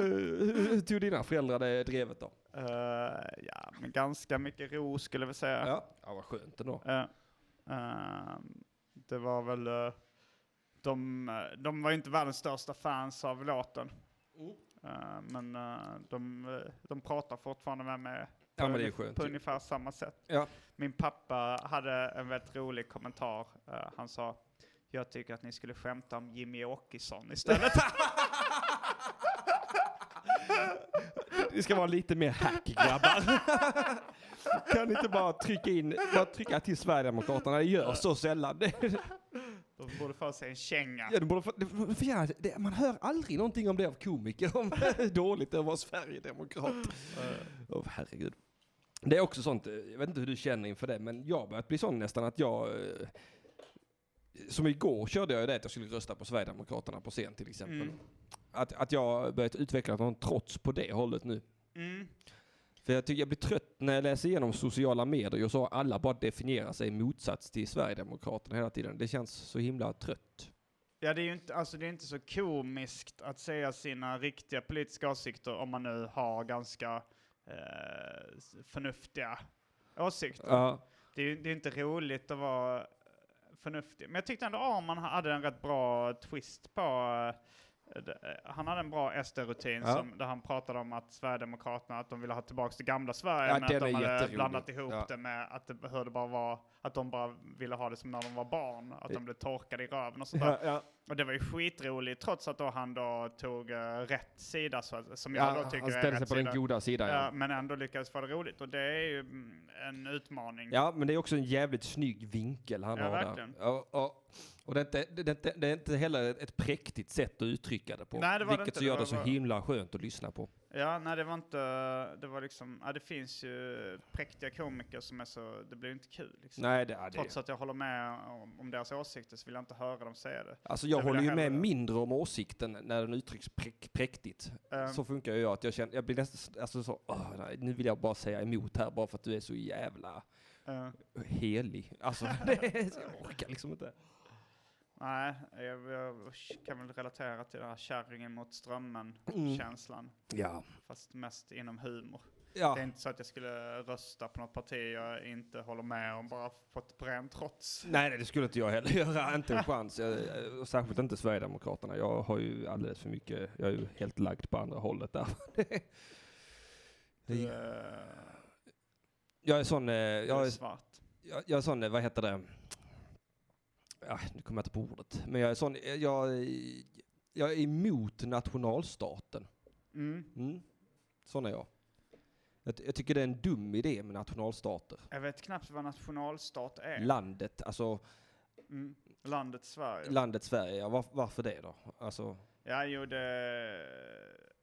A: Hur hur tog dina föräldrar det drevet då?
B: Eh, ja, men ganska mycket ro skulle jag väl säga.
A: Ja, ja vad skönt ändå.
B: Eh, ehm, det var väl... eh, de, eh, de var ju inte världens största fans av låten.
A: Mm.
B: Eh, men eh, de, eh, de pratar fortfarande med mig
A: Ja,
B: på
A: men det är
B: ungef-
A: skönt
B: på
A: ju.
B: ungefär samma sätt.
A: Ja.
B: Min pappa hade en väldigt rolig kommentar. Eh, han sa, jag tycker att ni skulle skämta om Jimmy Åkesson istället.
A: Det ska vara lite mer hack, grabbar. kan inte bara trycka in, bara trycka till Sverigedemokraterna, det gör så sällan. Det-
B: de borde få sig en känga.
A: ja, det borde, få- det, för gärna- det, man hör aldrig någonting om det av komiker, om hur dåligt det var Sverigedemokrat. Åh herregud. Det är också sånt, eh, jag vet inte hur du känner inför det, men jag har börjat bli sån nästan att jag... eh, Som igår körde jag ju det att jag skulle rösta på Sverigedemokraterna på scen till exempel.
B: Mm.
A: Att, att jag börjat utveckla någon trots på det hållet nu.
B: Mm.
A: För jag tycker jag blir trött när jag läser igenom sociala medier och så har alla bara definierar sig i motsats till Sverigedemokraterna hela tiden. Det känns så himla trött.
B: Ja, det är ju inte, alltså, det är inte så komiskt att säga sina riktiga politiska åsikter om man nu har ganska eh, s- förnuftiga åsikter.
A: Ja,
B: Det är ju det är inte roligt att vara förnuftig. Men jag tyckte ändå Arman hade en rätt bra twist på... eh, d- eh, Han hade en bra SD-rutin
A: Ja.
B: som, där han pratade om att Sverigedemokraterna att de ville ha tillbaka det gamla Sverige
A: Ja,
B: men att
A: den
B: de
A: är
B: hade
A: jätterolig.
B: blandat ihop
A: Ja.
B: det med att det, hur det bara var, att de bara ville ha det som när de var barn, att de blev torkade i röven och sånt där.
A: ja, ja.
B: Och det var ju skitroligt trots att då han då tog eh, rätt sida, så, att- som jag då
A: ja
B: tycker
A: han
B: är
A: ställer sig
B: rätt
A: på
B: sida.
A: den goda sidan.
B: Ja,
A: Ja.
B: men ändå lyckades få det roligt och det är ju mm, en utmaning.
A: ja, men det är också en jävligt snygg vinkel han
B: Ja,
A: har
B: verkligen.
A: där. Ja, ja. Och det är, inte, det, är inte, det är inte heller ett präktigt sätt att uttrycka det på.
B: Nej, det var det
A: vilket
B: inte.
A: så
B: Det
A: gör
B: var
A: det så
B: bara-
A: himla skönt att lyssna på.
B: Ja, nej det var inte, det var liksom, ja, det finns ju präktiga komiker som är så, det blir ju inte kul liksom.
A: Nej, det är det.
B: Trots att jag håller med om, om deras åsikter så vill jag inte höra dem säga det.
A: Alltså jag
B: Jag vill
A: håller ju
B: hellre-
A: med mindre om åsikten när den uttrycks präk- präktigt.
B: Ehm.
A: Så funkar ju jag, att jag känner, jag blir nästan, alltså så, "Åh, nej, nu vill jag bara säga emot här bara för att du är så jävla
B: Eh,
A: helig. Alltså, det är, så jag orkar liksom inte.
B: nej, jag, jag kan väl relatera till den här kärringen mot
A: Mm.
B: strömmen-känslan.
A: Ja.
B: Fast mest inom humor. Det är
A: ja.
B: inte så att jag skulle rösta på något parti jag inte håller med om bara fått på rent trots.
A: Nej, nej, det skulle inte jag heller göra. Inte en chans. Jag, jag- och särskilt inte Sverigedemokraterna. Jag har ju alldeles för mycket, jag är ju helt lagd på andra hållet där.
B: Du,
A: Det-
B: eh,
A: Jag är sån, eh,
B: du
A: jag
B: är
A: är
B: svart.
A: jag, jag är sån, eh, vad heter det? Ja, nu kommer jag inte på ordet. Men jag är sån, eh, jag, är- jag är emot nationalstaten.
B: Mm.
A: Mm. Sån är jag. jag. ty- Jag tycker det är en dum idé med nationalstater.
B: Jag vet knappt vad nationalstat är.
A: Landet, alltså
B: mm. Landet Sverige.
A: landet Sverige, ja, var, varför det då? Alltså,
B: ja, jo det,
A: det,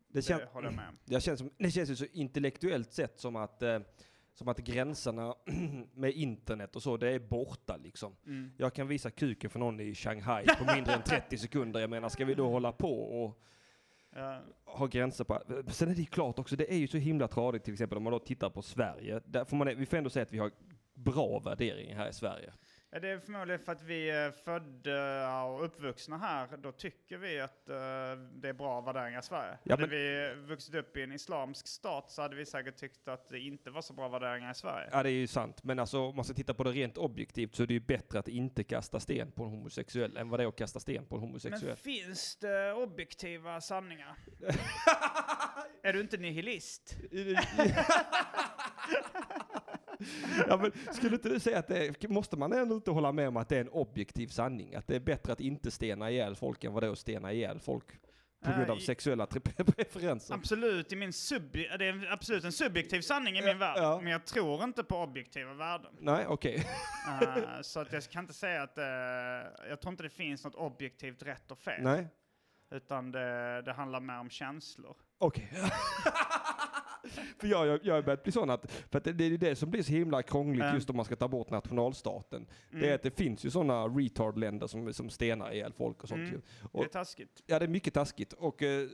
B: det
A: kän,
B: håller jag med om.
A: jag känns som, det känns ju så intellektuellt sett som att, eh, som att gränserna med internet och så, det är borta liksom.
B: Mm.
A: Jag kan visa kuken för någon i Shanghai på mindre än 30 sekunder. Jag menar, ska vi då hålla på och
B: Ja,
A: har gränser på. Sen är det ju klart också, det är ju så himla tradigt till exempel om man då tittar på Sverige. Där får man, vi får ändå säga att vi har bra värderingar här i Sverige.
B: Ja, det är förmodligen för att vi är födda och uppvuxna här. Då tycker vi att eh, det är bra värderingar i Sverige.
A: Ja,
B: hade vi vuxit upp i en islamsk stat så hade vi säkert tyckt att det inte var så bra värderingar i Sverige.
A: Ja, det är ju sant. Men alltså, om man ska titta på det rent objektivt så är det ju bättre att inte kasta sten på en homosexuell än vad det är att kasta sten på en homosexuell.
B: Men finns det objektiva sanningar? är du inte nihilist?
A: ja, men skulle inte du säga att det är, måste man ändå inte hålla med om att det är en objektiv sanning? Att det är bättre att inte stena ihjäl folk än vad det är att stena ihjäl folk på grund av
B: Nej.
A: sexuella tri- preferenser?
B: Absolut, i min subje- det är en- absolut en subjektiv sanning i min värld.
A: ja.
B: Men jag tror inte på objektiva värden.
A: Nej, okej.
B: Eh, så att jag kan inte säga att... eh, jag tror inte det finns något objektivt rätt och fel.
A: Nej.
B: Utan det, det handlar mer om känslor.
A: Okej. för jag, jag, jag har börjat bli sån att, för att det, det är ju det som blir så himla krångligt
B: Mm.
A: just om man ska ta bort nationalstaten. Det är att det finns ju såna retard-länder som, som stenar ihjäl folk och sånt
B: Mm.
A: ju.
B: Det är
A: Och-
B: taskigt.
A: Ja, det är mycket taskigt. Och eh,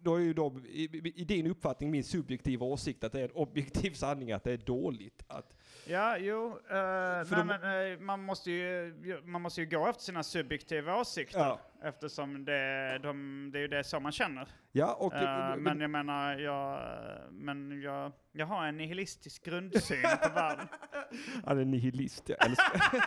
A: då är ju de, i, i- i din uppfattning, min subjektiva åsikt, att det är en objektiv sanning att det är dåligt. Att,
B: Ja, jo. eh, nej,
A: de-
B: men, eh, man, måste ju, man måste ju gå efter sina subjektiva åsikter.
A: ja.
B: Eftersom det, de, det är ju det som man känner.
A: ja, och...
B: Eh,
A: men-
B: men jag menar, jag, men jag, jag har en nihilistisk grundsyn på världen.
A: Han är nihilist, jag älskar...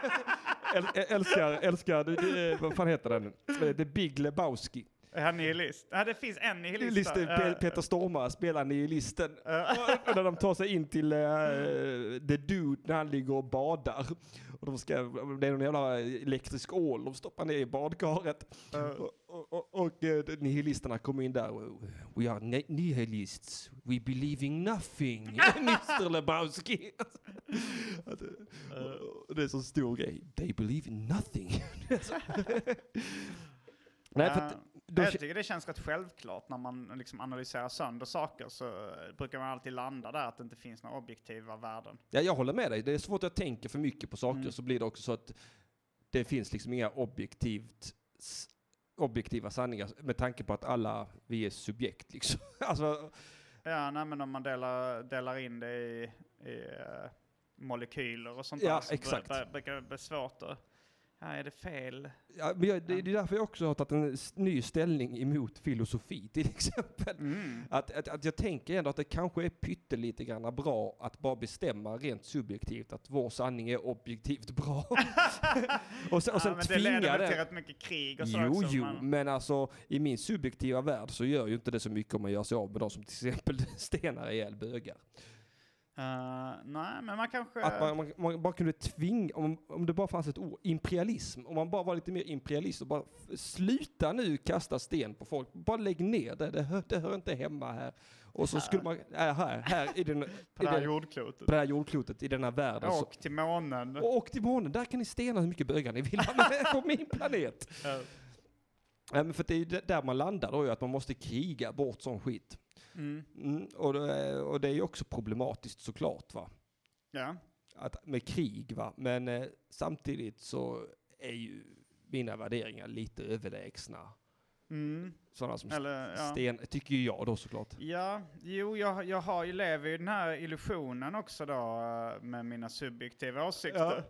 A: Äl- älskar, älskar, det, det, vad fan heter den? Eh, The Big Lebowski.
B: Är han nihilist? Ja, det finns en nihilist.
A: Nihilist,
B: där.
A: Pe-
B: Eh,
A: Peter Stormare spelar nihilisten.
B: eh,
A: Och när de tar sig in till eh, The Dude när han ligger och badar. Och de ska, det är någon jävla elektrisk ål de stoppar ner i badkaret.
B: Eh.
A: Och, och, och, och eh, nihilisterna kommer in där. och, We are ni- nihilists. We believe in nothing. Mr Lebowski. Att, eh, och- och det är så stor grej. They believe in nothing. Det är så- Nej, för att,
B: eh,
A: då,
B: jag tycker det känns rätt självklart när man liksom analyserar sönder saker så eh, brukar man alltid landa där att det inte finns några objektiva värden.
A: Ja, jag håller med dig. Det är svårt att tänka för mycket på saker
B: Mm.
A: så blir det också så att det finns liksom inga objektivt, s- objektiva sanningar med tanke på att alla vi är subjekt liksom. Alltså,
B: Ja, nej, men om man delar, delar in det i, i eh, molekyler och sånt
A: Ja,
B: där så br-
A: exakt.
B: br- brukar det bli svårt att... Ja, är det fel?
A: ja, men jag, det, det är därför jag också har tagit en s- ny ställning emot filosofi till exempel.
B: Mm.
A: Att, att, att jag tänker ändå att det kanske är pyttelite grann bra att bara bestämma rent subjektivt att vår sanning är objektivt bra. och sen, och sen
B: ja, men det
A: tvinga
B: leder väl
A: den.
B: till rätt mycket krig och så
A: Jo,
B: också,
A: jo,
B: man-
A: men alltså i min subjektiva värld så gör ju inte det så mycket om man gör sig av med de som till exempel stenar ihjäl bögar.
B: Eh, nej, men man kanske...
A: Att man, man, man bara kunde tvinga, om, om det bara fanns ett ord, imperialism, om man bara var lite mer imperialist och bara f- sluta nu kasta sten på folk, bara lägg ner det, det hör, det hör inte hemma här. Och så skulle man, äh, här, här i den, i
B: på det här
A: den, på
B: jordklotet.
A: det här jordklotet, i den här världen. så,
B: Och till månen.
A: och åk till månen, där kan ni stena hur mycket bögar ni vill, men på min planet.
B: Eh,
A: Nej, men för det är ju d- där man landar då, ju, att man måste kriga bort sån skit.
B: mm,
A: Mm, och, det är, och det är ju också problematiskt såklart, va?
B: ja.
A: Att, med krig, va? Men eh, samtidigt så är ju mina värderingar lite överlägsna
B: Mm,
A: sådana som
B: eller, ja.
A: sten, tycker ju jag då såklart.
B: Ja, jo, jag, jag har ju lever i den här illusionen också då eh, med mina subjektiva åsikter.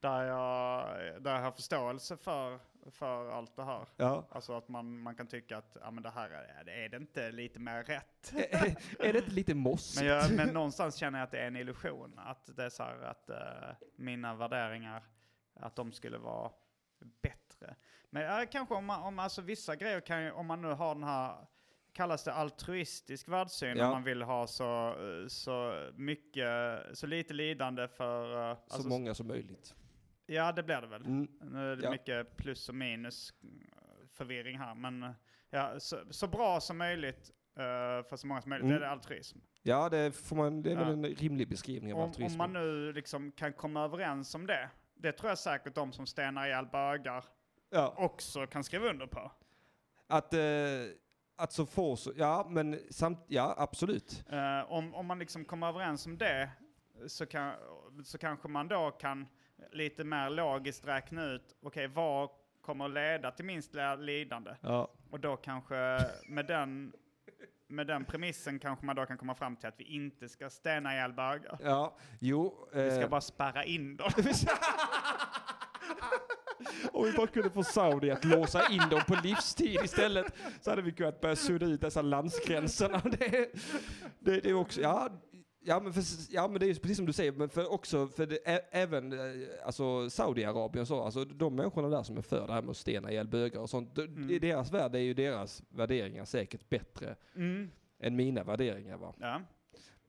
B: Där, jag, där jag har förståelse för, för allt det här.
A: Ja.
B: Alltså att man, man kan tycka att ja, men det här är, är det inte lite mer rätt.
A: är, är det inte lite mossigt?
B: Men, jag, men någonstans känner jag att det är en illusion. Att det är så här att eh, mina värderingar, att de skulle vara bättre. Men ja, kanske om man, om alltså vissa grejer kan ju, om man nu har den här, kallas det altruistisk världssyn,
A: Ja.
B: om man vill ha så, eh, så mycket, så lite lidande för... eh,
A: Så
B: alltså-
A: många som möjligt.
B: Ja, det blir det väl.
A: Mm.
B: Nu är det
A: Ja.
B: mycket plus och minus mm, förvirring här, men eh, ja, så, så bra som möjligt eh, för så många som möjligt,
A: Mm.
B: det är altruism.
A: Ja, det, får man, det är väl
B: Ja.
A: en rimlig beskrivning av
B: Om,
A: altruism.
B: om man nu liksom kan komma överens om det, det tror jag säkert de som stenar ihjäl bögar
A: ja.
B: också kan skriva under på.
A: Att, eh, att så få så, ja men samt, ja absolut.
B: Eh, om, om man liksom kommer överens om det så, kan, så kanske man då kan lite mer logiskt räkna ut, okej vad kommer att leda till minst lä- lidande?
A: Ja.
B: Och då kanske med den, med den premissen kanske man då kan komma fram till att vi inte ska stena ihjäl bögar.
A: Ja, jo.
B: Vi ska
A: eh,
B: bara spärra in dem.
A: Om vi bara kunde få Saudi att låsa in dem på livstid istället så hade vi kunnat börja sudda ut dessa landsgränserna. Det, är- det, det är också, ja, ja, men för, ja, men det är ju precis som du säger, men för också, för det, ä, även eh, alltså, Saudiarabien och så, alltså de människorna där som är för det här med att stena ihjäl bögar och sånt, de-
B: Mm.
A: i deras värld är ju deras värderingar säkert bättre
B: Mm.
A: än mina värderingar. Va?
B: Ja.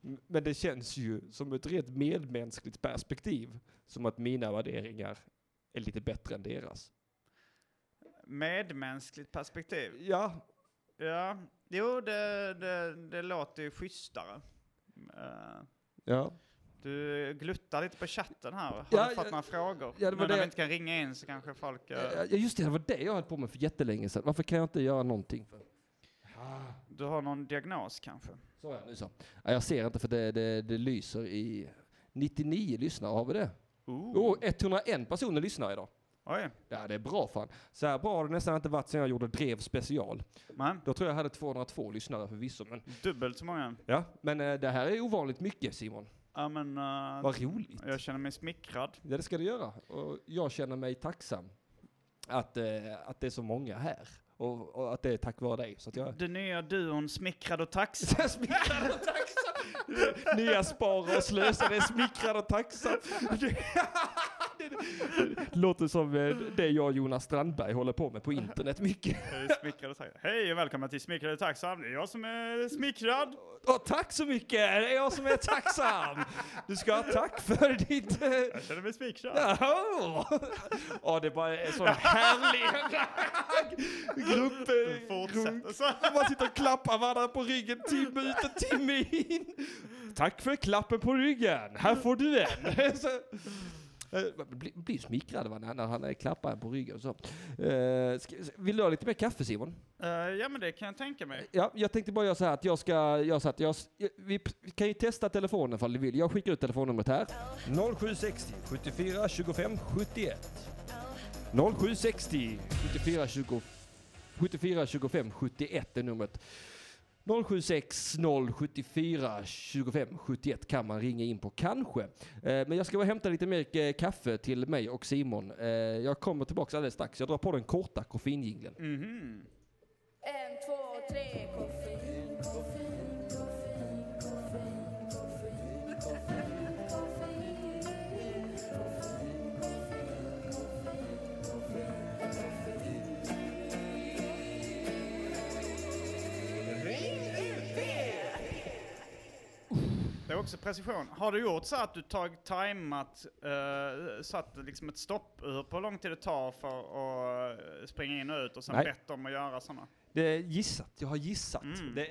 A: M- Men det känns ju som ett rent medmänskligt perspektiv som att mina värderingar är lite bättre än deras.
B: Medmänskligt perspektiv.
A: Ja,
B: Ja, jo det, det, det låter ju schysstare. Eh,
A: ja.
B: Du gluttar lite på chatten här. Har
A: Ja,
B: du fått
A: ja,
B: några frågor?
A: ja, det var
B: nu när vi
A: det.
B: inte kan ringa in så kanske folk... eh,
A: Ja, just det, det var det jag höll på med för jättelänge sedan. Varför kan jag inte göra någonting? För?
B: Du har någon diagnos kanske?
A: Så ja, nu så. Ja, jag ser inte för det, det, det lyser i... 99 lyssnare har vi det.
B: Ooh.
A: Oh, 101 personer lyssnar idag.
B: Oj,
A: Ja, det är bra fan. Så här bra har det nästan inte varit sedan jag gjorde Drev special.
B: men
A: Då tror jag jag hade 202 lyssnare förvisso. Men,
B: dubbelt så många.
A: ja, men eh, det här är ovanligt mycket Simon.
B: Ja, men, eh,
A: Vad roligt.
B: jag känner mig smickrad.
A: Ja, det ska du göra. Och jag känner mig tacksam att, eh, att det är så många här. Och, och att det är tack vare dig. Så att jag...
B: Den nya duon Smickrad och tacksam.
A: Jag är smickrad och tacksam. Nya Spara och Slösa, det är smickrad och tacksam. Det- Låter som eh, det jag och Jonas Strandberg håller på med på internet mycket.
B: Hej, smickrad och tacksam. Hej och välkomna till Smickrad och tacksam. Det är jag som är smickrad.
A: Åh, tack så mycket, det är jag som är tacksam. Du ska ha tack för ditt... eh,
B: Jag känner mig smickrad.
A: Jaha! Ja, det är bara en sån härlig grupp. eh,
B: Fortsätter så.
A: Man sitter och klappar varandra på ryggen timme ut och timme in. Tack för klappen på ryggen. Här får du en. Så, eh, man blir, blir smickrad va, när när han eh, klappar en på ryggen. och Så. Eh, ska, vill du ha lite mer kaffe Simon?
B: Eh, ja, men det kan jag tänka mig.
A: Ja, jag tänkte bara göra så här att jag ska... Jag, så att jag, vi vi kan ju testa telefonen ifall du vill. Jag skickar ut telefonnumret här.
E: 0760 74 25 71.
A: 0760 74 20 74 25 71 är numret. 0760 74 25 71 kan man ringa in på kanske. Eh, men jag ska bara hämta lite mer eh, kaffe till mig och Simon. Eh, jag kommer tillbaka alldeles strax. Jag drar på den korta koffeinjingeln.
B: Mhm.
F: En, två, tre, koffein, koffein, koffein, koffein, koffein, koffein, koffein, koffein, koffein, koffein,
B: Det är också precision. Har du gjort så att du tagit tajmat, eh, satt liksom ett stopp på hur lång tid det tar för att eh, springa in och ut och sen
A: Nej.
B: bett dem att göra sådana?
A: Det är gissat. Mm. Jag har gissat. Det, det,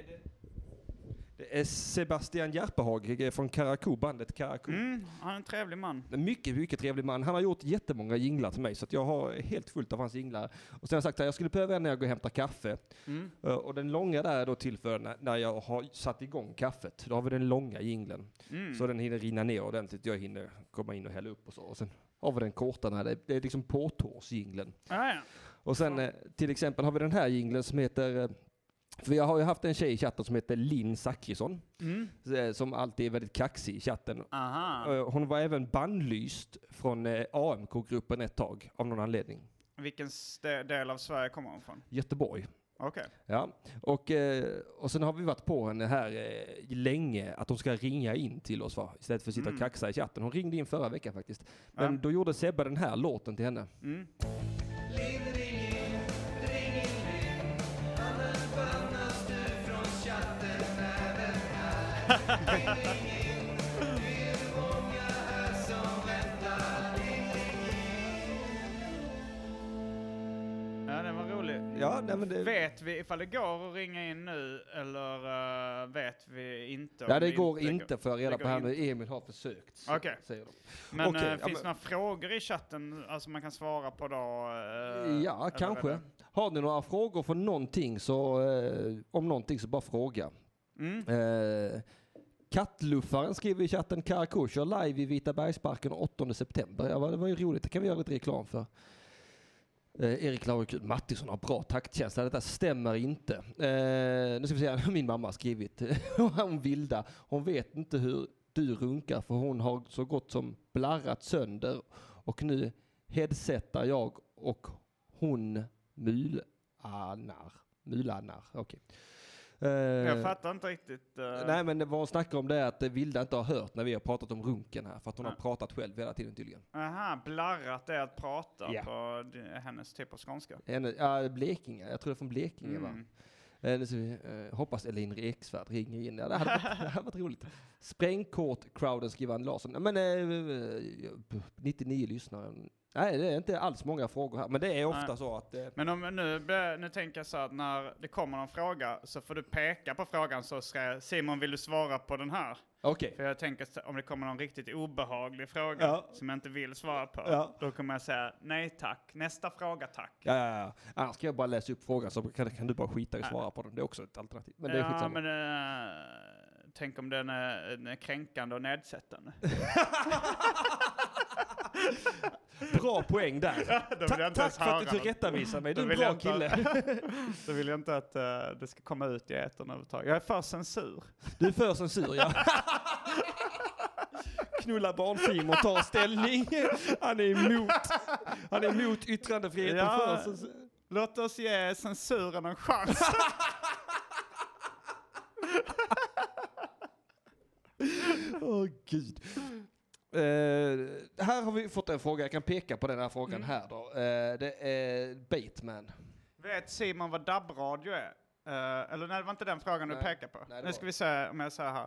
A: det är Sebastian Järpehag eh, från Karakou, bandet Karakou.
B: Mm, han är en trevlig man.
A: En mycket, mycket trevlig man. Han har gjort jättemånga jinglar till mig så att jag har helt fullt av hans jinglar. Och sen har jag sagt att jag skulle behöva en när jag går och hämtar kaffe.
B: Mm.
A: Eh, Och den långa där är då till för när, när jag har satt igång kaffet. Då har vi den långa jinglen.
B: Mm.
A: Så den hinner rinna ner ordentligt. Jag hinner komma in och hälla upp och så. Och sen har vi den korta när det, det är liksom påtårsjingeln.
B: Ah, ja.
A: Och sen eh, till exempel har vi den här jingeln som heter eh, för jag har ju haft en tjej i chatten som heter Linn Zachrisson,
B: mm.
A: eh, som alltid är väldigt kaxig i chatten.
B: Aha.
A: Eh, Hon var även bannlyst från eh, AMK-gruppen ett tag, av någon anledning.
B: Vilken st- del av Sverige kommer hon från?
A: Göteborg.
B: Okej.
A: Ja, och, eh, och sen har vi varit på henne här eh, länge, att hon ska ringa in till oss va? istället för att sitta och
B: Mm.
A: kaxa i chatten. Hon ringde in förra veckan faktiskt. Men
B: Ja.
A: då gjorde Sebbe den här låten till henne.
B: Mm. Ja, den var rolig.
A: Ja, nej, men det,
B: Vet vi ifall det går att ringa in nu eller eh, vet vi inte? om
A: nej, det
B: det
A: går
B: går?
A: inte för jag har reda
B: det
A: på
B: går
A: här nu. Emil har försökt. så-
B: Okej.
A: Säger de.
B: Men
A: Okej,
B: eh,
A: ja,
B: finns det
A: men-
B: några frågor i chatten alltså man kan svara på då? eh,
A: Ja,
B: eller
A: kanske.
B: vad
A: Har ni några frågor för någonting så, eh, om någonting så bara fråga.
B: det- Mm.
A: Eh, Kattluffaren skriver i chatten Karakou kör live i Vita Bergsparken 8 september. Ja, vad- det var ju roligt, det kan vi göra lite reklam för. Eh, Erik Laurikul Mattisson har bra taktkänsla, detta stämmer inte. Eh, nu ska vi se, min mamma har skrivit om Vilda. Hon vet inte hur du runkar för hon har så gott som blarrat sönder och nu headsetar jag och hon mulanar. Mulanar, okej.
B: Jag
A: Eh,
B: fattar inte riktigt. eh,
A: Nej men det- vad hon snackar om det är att eh, Vilda inte har hört när vi har pratat om runken här. För att hon har
B: Ja.
A: pratat själv hela tiden tydligen.
B: Aha, blarrat det är att prata
A: Ja.
B: på di- hennes typ av skånska.
A: Henne, ja, Blekinge, jag tror det är från Blekinge va?
B: Mm.
A: Eh, nu ska vi, eh, hoppas Elin Eksvärd ringer in. Ja, det, hade varit, det hade varit roligt. Sprängkort crowden skriver Ann Larsson. Nej, Men, eh, 99 lyssnare. Nej det är inte alls många frågor här. Men det är ofta
B: Nej.
A: så att... Eh,
B: Men om nu, be- nu tänker jag så att när det kommer någon fråga så får du peka på frågan så säger Simon vill du svara på den här?
A: Okej.
B: För jag tänker att om det kommer någon riktigt obehaglig fråga
A: Ja.
B: som jag inte vill svara på,
A: Ja.
B: då kommer jag säga nej tack, nästa fråga tack.
A: Ja, ja, ja. Annars kan jag bara läsa upp frågan så kan, kan du bara skita i att svara på den. Det är också ett alternativ. Men det är
B: ja,
A: skitsamma.
B: men eh, tänk om den är, den är kränkande och nedsättande.
A: Bra poäng där.
B: Då
A: Ta-
B: vill jag
A: tack
B: inte ens
A: för att du
B: höra något.
A: tillrättavisar mig. Du är
B: Då
A: en
B: vill
A: bra
B: jag inte-
A: kille.
B: Då vill jag inte att eh, det ska komma ut i etern överhuvudtaget. Jag är för censur.
A: Du är för censur, ja. Knulla barn-Simon tar ställning. Han är emot, han är emot yttrandefriheten
B: Ja.
A: för censur.
B: Låt oss ge censuren en chans.
A: Åh, gud. Eh, här har vi fått en fråga, jag kan peka på den här frågan
B: Mm.
A: här då. Eh, det är Bateman.
B: Vet Simon vad DAB-radio är? Eh, eller nej, det var inte den frågan du
A: Nej.
B: pekade på.
A: det var
B: nu ska vi se om jag säger här. Pe-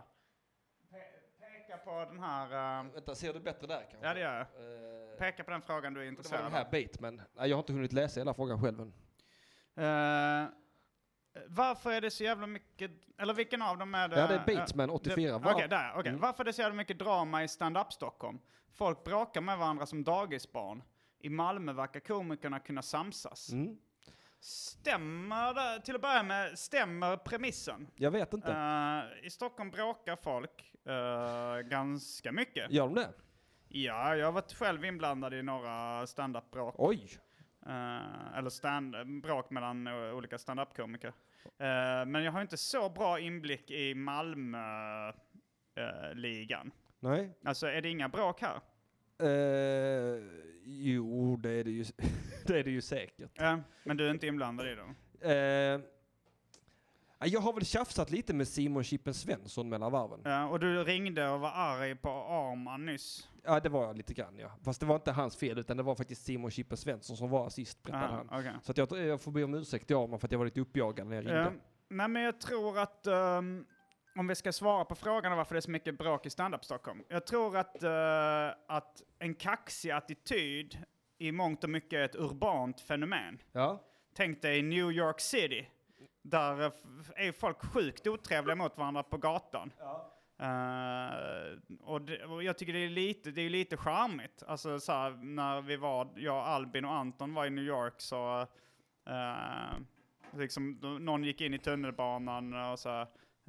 B: peka på den här... eh,
A: Vänta, ser du bättre där kanske?
B: ja, det gör jag.
A: Eh,
B: Peka på den frågan du är
A: det var
B: intresserad
A: den
B: av.
A: här Bateman. Nej, jag har inte hunnit läsa hela frågan själv än.
B: Eh, varför är det så jävla mycket... Eller vilken av dem är det?
A: Ja, det är Bateman, 84.
B: det-
A: Var-
B: Okej, där. okej.
A: Mm.
B: Varför är det så jävla mycket drama i stand-up Stockholm? Folk bråkar med varandra som dagisbarn. I Malmö verkar komikerna kunna samsas.
A: Mm.
B: Stämmer det, till att börja med, stämmer premissen?
A: Jag vet inte.
B: Eh, I Stockholm bråkar folk eh, ganska mycket.
A: Gör de det?
B: Ja, jag har varit själv inblandad i några stand-up-bråk.
A: Oj!
B: Eh, eller stand, bråk mellan eh, olika standup-komiker. Eh, men jag har inte så bra inblick i eh, Malmö-ligan.
A: Nej.
B: alltså är det inga bråk här?
A: Eh, jo, det är det ju, det är det ju säkert.
B: Eh, men du är inte inblandad i dem?
A: Eh, jag har väl tjafsat lite med Simon Chippen Svensson mellan varven.
B: Eh, och du ringde och var arg på Arman nyss?
A: Ja, det var jag lite grann ja. Fast det var inte hans fel, utan det var faktiskt Simon Chippen Svensson som var assist, berättade
B: Aha,
A: han.
B: okej.
A: Så att jag, eh, jag får be om ursäkt till Arman för att jag var lite uppjagad när jag ringde.
B: Eh, nej, men jag tror att ehm, om vi ska svara på frågan om varför det är så mycket bråk i stand-up Stockholm. Jag tror att, eh, att en kaxig attityd i mångt och mycket är ett urbant fenomen.
A: Ja.
B: Tänk dig New York City. Där eh, f- är folk sjukt otrevliga mot varandra på gatan. Eh, och, det, och jag tycker det är lite, det är lite charmigt. Alltså så här, när vi var, jag, Albin och Anton var i New York så eh, liksom, då- någon gick in i tunnelbanan och så här,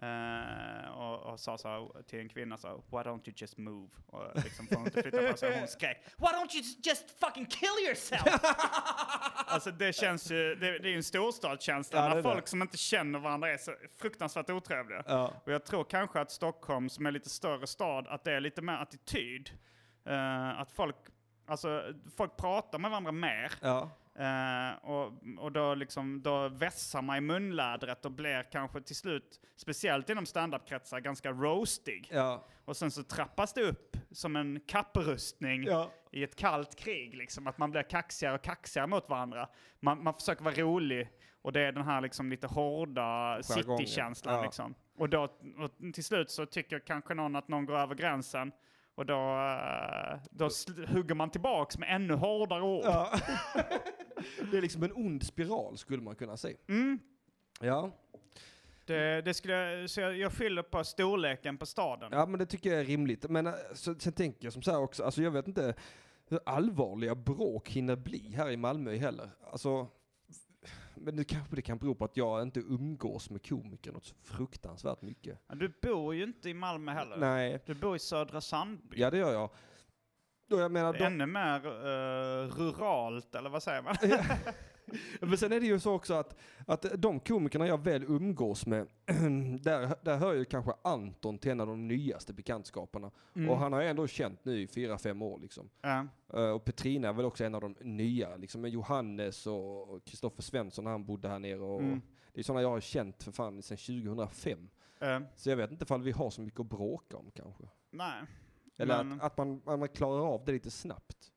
B: eh, och, och sa så här till en kvinna så här, Why don't you just move? Och liksom får hon inte flytta på sig. Hon skrek Why don't you just fucking kill yourself? alltså det känns ju, det, det är ju en storstadskänsla
A: Ja, det
B: när
A: är det.
B: folk som inte känner varandra är så fruktansvärt otrevliga.
A: Ja.
B: Och jag tror kanske att Stockholm, som är lite större stad, att det är lite mer attityd. Eh, att folk, alltså, folk pratar med varandra mer.
A: Ja.
B: Eh, och och då, liksom, då vässar man i munlädret och blir kanske till slut, speciellt inom standup-kretsar, ganska roastig.
A: Ja.
B: Och sen så trappas det upp som en kapprustning
A: Ja.
B: i ett kallt krig. Liksom, att man blir kaxigare och kaxigare mot varandra. Man, man försöker vara rolig och det är den här liksom, lite hårda
A: Jargongen.
B: citykänslan.
A: Ja.
B: Liksom. Och, då, och till slut så tycker kanske någon att någon går över gränsen. Och då, eh, då sl- hugger man tillbaks med ännu hårdare ord.
A: Det är liksom en ond spiral skulle man kunna säga. Ja.
B: Det, det skulle, jag- så jag, jag skyller på storleken på staden.
A: Ja men det tycker jag är rimligt. Men eh, så, sen tänker jag som så här också, alltså jag vet inte hur allvarliga bråk hinner bli här i Malmö heller. Alltså, men det kanske det kan bero på att jag inte umgås med komiker något så fruktansvärt mycket.
B: Du bor ju inte i Malmö heller.
A: Nej,
B: Du bor i Södra Sandby.
A: ja det gör jag. Och jag menar,
B: Det är
A: de,
B: Ännu mer eh, ruralt, eller vad säger man?
A: men sen är det ju så också att, att de komikerna jag väl umgås med, där, där hör ju kanske Anton till en av de nyaste bekantskaperna.
B: Mm.
A: Och han har jag ändå känt nu i fyra, fem år liksom.
B: Ja.
A: Eh, Och Petrina är väl också en av de nya, liksom med Johannes och och Kristoffer Svensson när han bodde här nere. Och
B: Mm.
A: Det är sådana jag har känt för fan sedan 2005.
B: Eh,
A: Så jag vet inte ifall vi har så mycket att bråka om kanske.
B: nej.
A: Eller
B: Men-
A: att, att, man, att man klarar av det lite snabbt.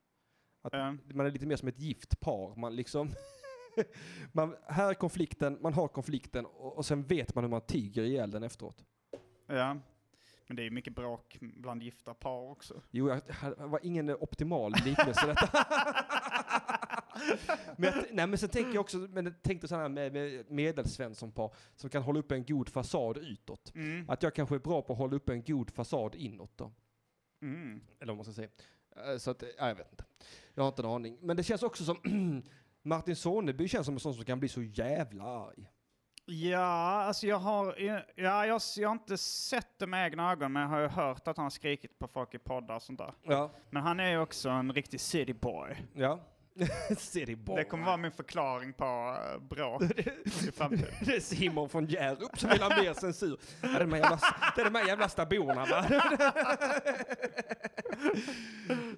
A: Att
B: Eh,
A: man är lite mer som ett gift par. Man liksom... man, här är konflikten, man har konflikten och, och sen vet man hur man tiger ihjäl den efteråt.
B: ja. Men det är ju mycket bråk bland gifta par också.
A: Jo, jag, det var ingen optimal liknelse detta. Men, jag, t- nej, men sen tänker jag också, men tänk dig sådana här med, med medelsvenssonpar som kan hålla upp en god fasad utåt.
B: Mm.
A: Att jag kanske är bra på att hålla upp en god fasad inåt då.
B: Mm.
A: Eller vad man ska säga. Eh, Så att, eh, ja, jag vet inte. Jag har inte en aning. Men det känns också som Martin Soneby känns som en sån som kan bli så jävla arg.
B: Ja, alltså jag har, ja, jag, jag har inte sett det med egna ögon, men jag har ju hört att han har skrikit på folk i poddar och sånt där.
A: Ja.
B: Men han är ju också en riktig city boy.
A: Ja. City boy.
B: Det kommer vara min förklaring på eh, bråk i framtiden.
A: Det är Simon från Hjärup som vill ha mer censur. Ja, det, är de här jävla, det är de här jävla staborna va?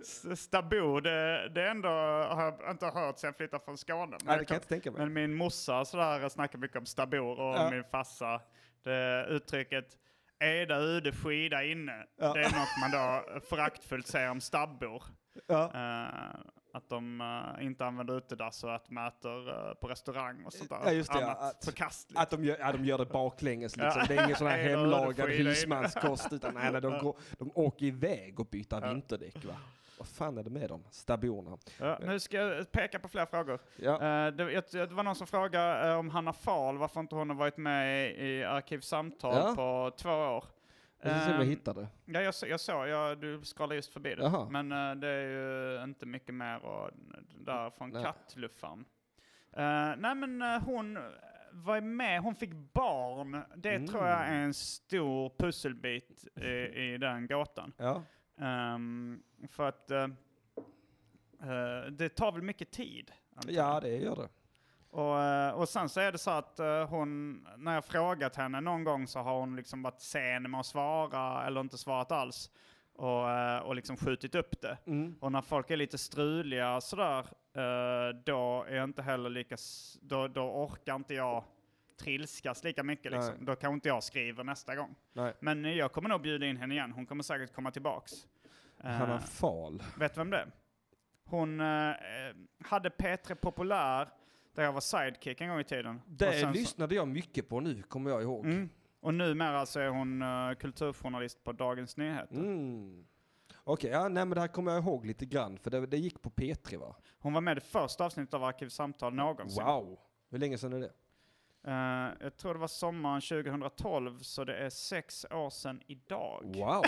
B: S- Stabo, det, det är ändå, har jag inte hört sen jag flyttade från Skåne. Men,
A: Nej, det
B: jag
A: kan jag inte tänka mig.
B: men min morsa sådär snackar mycket om stabor och
A: Ja.
B: min farsa. Det uttrycket Eda ude skida inne.
A: Ja.
B: Det är något man då föraktfullt säger om stabbor.
A: Ja.
B: Eh, att de eh, inte använder utedass och att de äter eh, på restaurang och sånt där.
A: Ja, just det, ja.
B: Annat
A: Att-
B: förkastligt.
A: Att de gör, ja, de gör det baklänges liksom.
B: Ja.
A: Det är ingen sån här
B: Nej, då är det
A: hemlagad
B: skit in.
A: husmanskost utan nej, nej, de, går, de åker iväg och byter vinterdäck va. Vad fan är det med dem? Staborna.
B: Ja, nu ska jag peka på fler frågor.
A: Ja.
B: Eh, det, jag, det var någon som frågade eh, om Hanna Fahl, varför inte hon har varit med i, i Arkivsamtal
A: Ja.
B: på två år.
A: Jag ska se om jag
B: Ehm,
A: hittar det.
B: Ja, jag, så- jag såg, jag, du scrollade just förbi det.
A: Jaha.
B: Men eh, det är ju inte mycket mer och, där från
A: Nej.
B: kattluffaren. Eh, nej men eh, hon var med, hon fick barn. Det
A: Mm.
B: tror jag är en stor pusselbit i, i den gåtan.
A: Ja.
B: Ehm, för att eh, eh, det tar väl mycket tid. antar jag.
A: ja, det gör det.
B: Och, eh, och sen så är det så att eh, hon, när jag frågat henne någon gång så har hon liksom varit sen med att svara eller inte svarat alls. Och, eh, och liksom skjutit upp det.
A: Mm.
B: Och när folk är lite struliga sådär, eh, då är jag inte heller lika, s- då, då orkar inte jag trilskas lika mycket liksom.
A: Nej.
B: Då kanske inte jag skriver nästa gång.
A: Nej.
B: Men eh, jag kommer nog bjuda in henne igen, hon kommer säkert komma tillbaks. Eh,
A: Hanna Fahl.
B: Vet du vem det är? Hon eh, eh, hade P3 Populär där jag var sidekick en gång i tiden. Och
A: Det
B: sen så-
A: lyssnade jag mycket på nu, kommer jag ihåg.
B: Mm. Och numera så är hon eh, kulturjournalist på Dagens Nyheter.
A: Mm. Okej, ja, nej men det här kommer jag ihåg lite grann, för det, det gick på P3 va?
B: Hon var med i det första avsnittet av Arkivsamtal någonsin.
A: Wow! Hur länge sedan är det?
B: Eh, jag tror det var sommaren 2012, så det är sex år sedan idag.
A: Wow!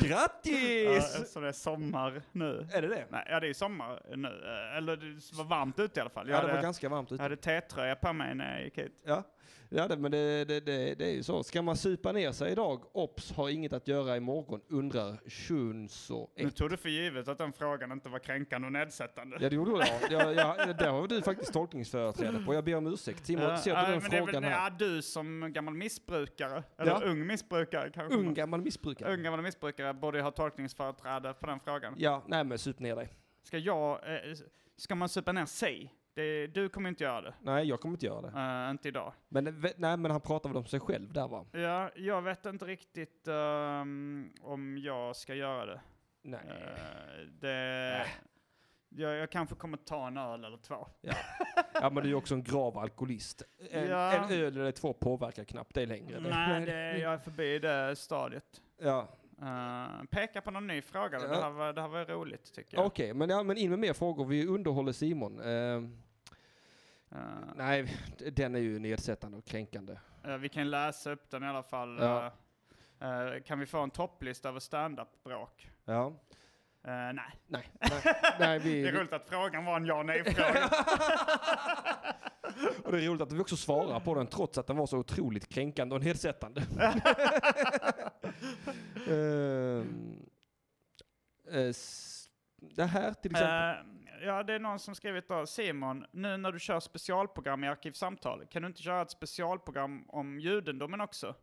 A: Grattis!
B: Eh, så det är sommar nu.
A: är det det?
B: Nej, ja, det är sommar nu. Eh, eller det var varmt ute i alla fall.
A: Ja,
B: Jag
A: det var
B: hade,
A: ganska varmt
B: jag
A: ute.
B: hade T-tröja på mig när jag gick hit.
A: Ja, ja det, men det, det, det, det är ju så. Ska man supa ner sig idag? Ops, har inget att göra imorgon, undrar Shunso
B: Nu
A: 1.
B: tog du för givet att den frågan inte var kränkande och nedsättande.
A: Ja, det gjorde jag. jag, jag där har du faktiskt tolkningsföreträde på. Jag ber om ursäkt. Simon,
B: Ja,
A: ser du
B: nej,
A: den
B: men det är väl-
A: frågan här?
B: Ja, du som gammal missbrukare, eller
A: Ja.
B: ung missbrukare kanske.
A: Ung gammal missbrukare.
B: Ung gammal missbrukare borde ju ha tolkningsföreträde på den frågan.
A: Ja, nej men sup ner dig.
B: Ska jag, eh, ska man supa ner sig? Det, du kommer inte göra det.
A: Nej, jag kommer inte göra det.
B: Eh, inte idag.
A: Men, ve- nej, men han pratar väl om sig själv där va?
B: Ja, jag vet inte riktigt ehm, om jag ska göra det.
A: Nej.
B: Eh, det jag, jag kanske kommer ta en öl eller två.
A: Ja, men du är ju också en grav alkoholist. En,
B: Ja.
A: en öl eller två påverkar knappt dig längre. Det-
B: Nej, det, jag är förbi det stadiet.
A: Ja.
B: Eh, peka på någon ny fråga,
A: Ja.
B: det, här var, det här var roligt tycker jag.
A: Okej, men, ja, men in med mer frågor. Vi underhåller Simon. Eh,
B: Eh,
A: nej, den är ju nedsättande och kränkande.
B: Eh, vi kan läsa upp den i alla fall.
A: Ja.
B: Eh, eh, kan vi få en topplista över stand-up-bråk?
A: Ja.
B: Eh, nej.
A: Nej, nej, nej vi,
B: Det är roligt att frågan var en ja nej-fråga.
A: och det är roligt att vi också svarar på den trots att den var så otroligt kränkande och nedsättande. Ehm, eh, s- det här till
B: Eh.
A: exempel.
B: ja, det är någon som skrivit då, Simon, nu när du kör specialprogram i Arkivsamtal, kan du inte köra ett specialprogram om judendomen också?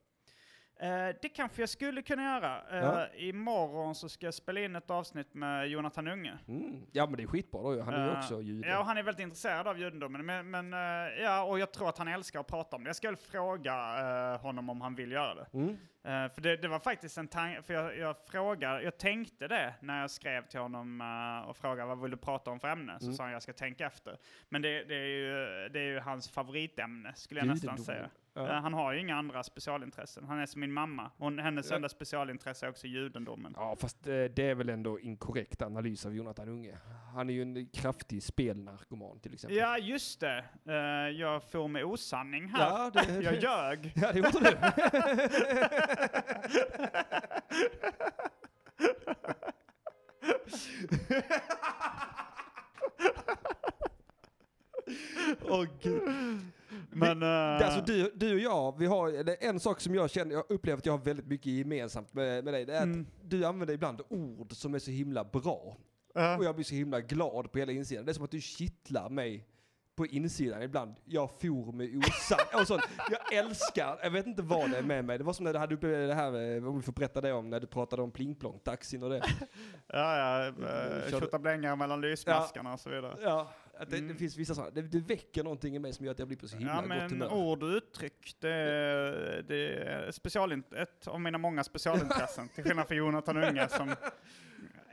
B: Eh, det kanske jag skulle kunna göra. Eh,
A: Ja.
B: Imorgon så ska jag spela in ett avsnitt med Jonathan Unge.
A: Mm. Ja men det är skitbra då ju. han är ju
B: Eh,
A: också jude.
B: Ja, och han är väldigt intresserad av judendomen. Men, men, eh, ja, och jag tror att han älskar att prata om det. Jag ska väl fråga eh, honom om han vill göra det.
A: Mm.
B: Eh, för det, det var faktiskt en tanke, för jag, jag frågade, jag tänkte det när jag skrev till honom eh, och frågade vad vill du prata om för ämne?
A: Mm.
B: Så sa han jag ska tänka efter. Men det, det, är, ju, det är ju hans favoritämne skulle jag nästan
A: Judendomen.
B: säga.
A: Ja.
B: Eh, Han har ju inga andra specialintressen. Han är som min mamma. Hon, hennes enda specialintresse är också judendomen.
A: Ja, fast eh, det är väl ändå inkorrekt analys av Jonathan Unge. Han är ju en kraftig spelnarkoman till exempel.
B: Ja, just det. Eh, jag får med osanning här.
A: Ja, det-
B: jag ljög.
A: Ja, det gjorde du. Åh gud.
B: Men, eh,
A: Alltså du, du och jag, vi har, eller en sak som jag känner, jag upplever att jag har väldigt mycket gemensamt med, med dig, det är
B: Mm.
A: att du använder ibland ord som är så himla bra.
B: eh,
A: Och jag blir så himla glad på hela insidan. Det är som att du kittlar mig på insidan ibland. Jag for med osann. Och sånt. Jag älskar, jag vet inte vad det är med mig. Det var som när du hade uppe det här, eh, om vi får berätta det om, när du pratade om plingplong, taxin och det.
B: ja, ja,
A: Körde-
B: eh, tjottablängar mellan lysmaskarna och så vidare.
A: Ja, att det, det finns vissa sådana. Det, det väcker någonting i mig som gör att jag blir på så himla
B: Mm. Ja,
A: gott
B: men
A: humör.
B: ord och uttryck, det är, det är specialint- ett av mina många specialintressen. till skillnad från Jonathan Unge som